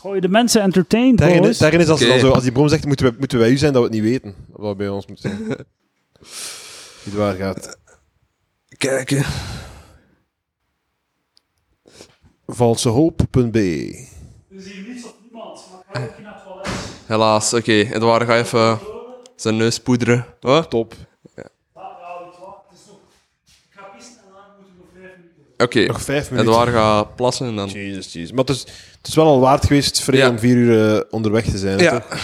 Gooi de mensen entertained,
Daarin
boys.
is, daarin is als,
Oké.
dan zo, als die brom zegt, moeten, we, moeten wij u zijn dat we het niet weten. Wat bij ons moet zijn. niet waar gaat.
Kijken.
Valsehoop.be
Helaas, oké. Edouard, ga even zijn neus poederen. Wat? Oké,
Top. Nog vijf minuten.
Edouard gaat plassen en dan...
Jezus, jezus. Maar het is, het is wel al waard geweest, Free,
Ja.
om vier uur eh, onderweg te zijn. hè,
Ja,
toch?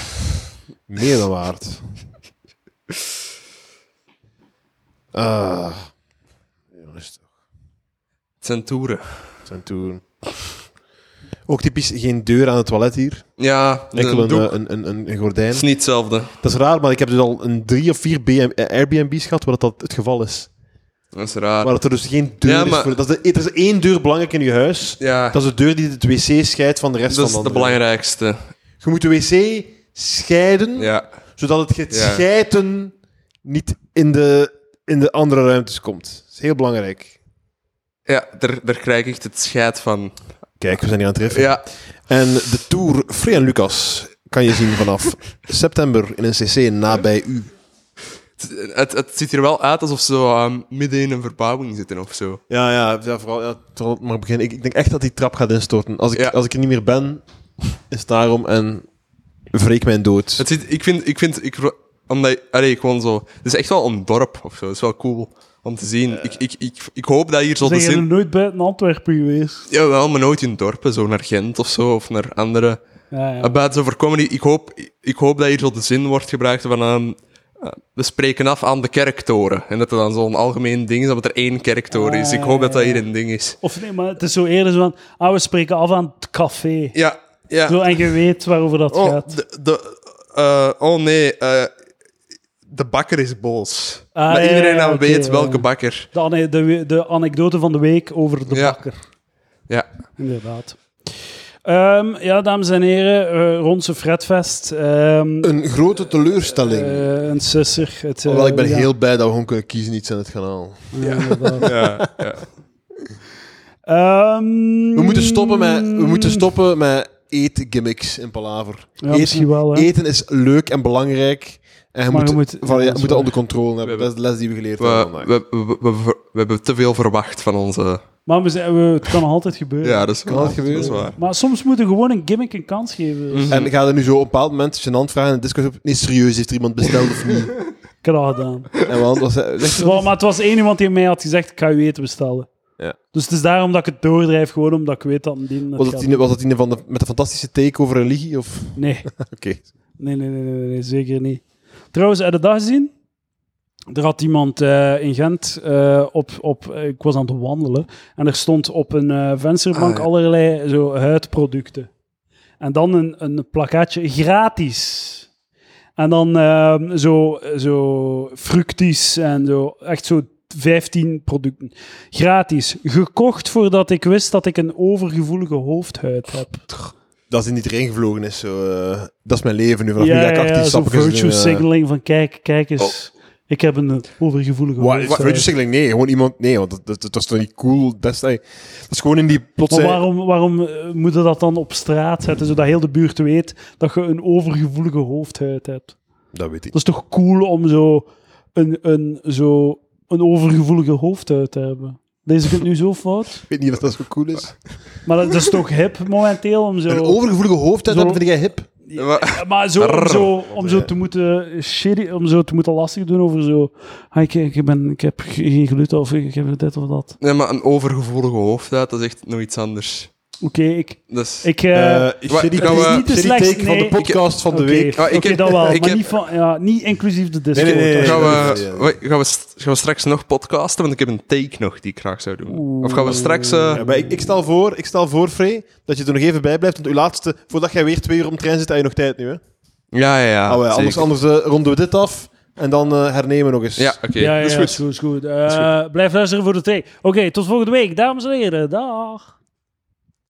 Meer dan waard. Ah. Jongens,
het zijn toeren.
het zijn toeren. Ook typisch geen deur aan het toilet hier.
Ja,
Enkel
een
een,
doek.
eh, een, een, een, een gordijn.
is niet hetzelfde.
Dat is raar, maar ik heb dus al een drie of vier BM, eh, Airbnb's gehad waar dat het geval is.
Dat is raar.
Waar dat er dus geen deur
Ja,
is
maar-
voor. Dat is de, er is één deur belangrijk in je huis.
ja,
Dat is de deur die het wc scheidt van de rest
dat
van
is de
andere.
belangrijkste.
Je moet de wc scheiden,
Ja.
zodat het, het
Ja.
scheiden niet in de, in de andere ruimtes komt. Dat is heel belangrijk.
Ja, daar, daar krijg ik echt het scheid van.
Kijk, we zijn hier aan het treffen.
Ja,
En de tour Free en Lucas kan je zien vanaf september in een cc nabij u.
het, het, het ziet er wel uit alsof ze zo, ehm, midden in een verbouwing zitten of zo.
Ja, ja, ja vooral ja, terwijl het maar beginnen. Ik, ik denk echt dat die trap gaat instorten. Als ik,
Ja.
als ik er niet meer ben, is het daarom en wreek mijn dood.
Het ziet, ik vind, ik vind, ik, ro- omdat, ik- allee, gewoon zo. Het is echt wel een dorp of zo. Het is wel cool om te zien.
Eh.
ik, ik, ik, ik hoop dat hier zo
Zijn
de
jullie
zin.
nooit buiten Antwerpen geweest?
Jawel, maar nooit in dorpen, zo naar Gent of zo, of naar andere.
Ja, ja.
Maar Buiten zo voor comedy, ik hoop, ik hoop dat hier zo de zin wordt gebruikt van. ehm, eh, we spreken af aan de kerktoren. En dat er dan zo'n algemeen ding is, dat er één kerktoren
Ah,
is. Ik hoop dat dat hier een ding is.
Of nee, maar het is zo eerder zo van, ah, we spreken af aan het café.
Ja, ja.
Zo, en je weet waarover dat
Oh,
gaat.
de, de, eh, oh nee, eh, de bakker is boos.
Ah,
maar
ja,
iedereen
ja,
dan
oké,
weet
ja.
welke bakker.
De, ane- de, de anekdote van de week over de
Ja.
bakker.
Ja.
Inderdaad. Ehm, ja, dames en heren, eh Ronse Fredfest. ehm,
Een grote teleurstelling.
eh, een sisser. Het, eh,
Hoewel, ik ben
ja,
heel blij dat we gewoon kunnen kiezen iets aan het kanaal.
ja, inderdaad.
Ja, ja.
Ehm,
We moeten stoppen met, we moeten stoppen met eetgimmicks in Palaver.
Ja, misschien
eten,
wel, hè.
eten is leuk en belangrijk. En je
Maar
moet,
je moet-
van,
ja,
je
dat is
moet dat
waar.
onder controle hebben.
We
Dat is de les die we geleerd hebben
We,
vandaag.
we, we, we, we- we hebben te veel verwacht van onze.
Maar we zijn, we, het kan nog altijd gebeuren.
Ja, dat is,
Kan het gebeuren?
dat is waar.
Maar soms moeten we gewoon een gimmick een kans geven.
Mhm.
En ik ga er nu zo op een bepaald moment gênant vragen in de discussie op... Nee, serieus, heeft er iemand besteld of niet?
Ik heb dat gedaan.
en want, was, zeg,
Wel, maar het was één iemand die mij had gezegd, ik ga u eten bestellen.
Ja.
Dus het is daarom dat ik het doordrijf, gewoon omdat ik weet dat een dien het
Was
gaat
dat, die, was dat die van de, met de fantastische take over religie? Of?
doen. Nee.
Oké.
Nee, nee, nee, nee, nee, nee, zeker niet. Trouwens, heb je dat gezien? Er had iemand eh, in Gent eh, op, op, eh, ik was aan het wandelen, en er stond op een eh, vensterbank
Ah, ja.
allerlei zo huidproducten. En dan een, een plakkaatje gratis. En dan ehm, zo, zo fructies en zo, echt zo 15 producten. Gratis. Gekocht voordat ik wist dat ik een overgevoelige hoofdhuid heb.
Dat is niet erin gevlogen is. Zo, eh, dat is mijn leven nu. Vanaf nu
Ja,
ga ik
ja,
actief
ja zo'n
stappen kunnen
virtue
doen, eh. Oh.
signaling van kijk, kijk eens. Ik heb een eh, overgevoelige
Wa- wa-
hoofdhuid.
virtue signaling, nee. Gewoon iemand... Nee, want dat, dat, dat was toch niet cool destijds. Dat is gewoon in die plotse...
Maar waarom, waarom eh, moet je dat dan op straat zetten, zodat heel de buurt weet dat je een overgevoelige hoofdhuid hebt?
Dat weet ik.
Dat is toch cool om zo een, een, zo een overgevoelige hoofdhuid te hebben? Deze kunt nu zo fout.
Ik weet niet of dat zo cool is.
Maar dat, dat is toch hip momenteel om
Een
zo...
overgevoelige hoofdheid
Zo-
hebben, vind jij hip?
Maar-
Maar zo, om, zo, om zo
ja.
te moeten shitty, om zo te moeten lastig doen over zo... Ah, ik, ik, ben, ik heb geen gluten of ik heb dit of dat.
Nee, maar een overgevoelige hoofdheid, dat is echt nog iets anders.
Oké, ik...
Dus...
ik eh,
Eh,
wa-
shitty-
gaan we-
shitty
niet te
take
slecht,
van de
nee.
podcast van de
Oké,
week. Ah,
Ja, ik
oké,
heb-
dat wel,
ik
maar
heb-
niet, van, ja, niet inclusief de Discord.
nee, nee,
Gaan
hoor.
we,
Ja, ja.
wait, gaan, we st- gaan we straks nog podcasten? Want ik heb een take nog die ik graag zou doen.
Oeh.
Of gaan we straks... eh,
Ja, maar ik, ik stel voor, ik stel voor, Frey, dat je er nog even bij blijft. Want uw laatste, voordat jij weer twee uur om de trein zit, heb je nog tijd nu. Hè?
ja, ja, ja.
Ah, wel, anders
zeker.
anders eh, ronden we dit af en dan eh, hernemen we nog eens.
Ja, oké.
Ja, ja,
dat is
ja,
goed.
is goed. is goed. Eh, Blijf luisteren voor de twee. Oké, tot volgende week, dames en heren. Dag.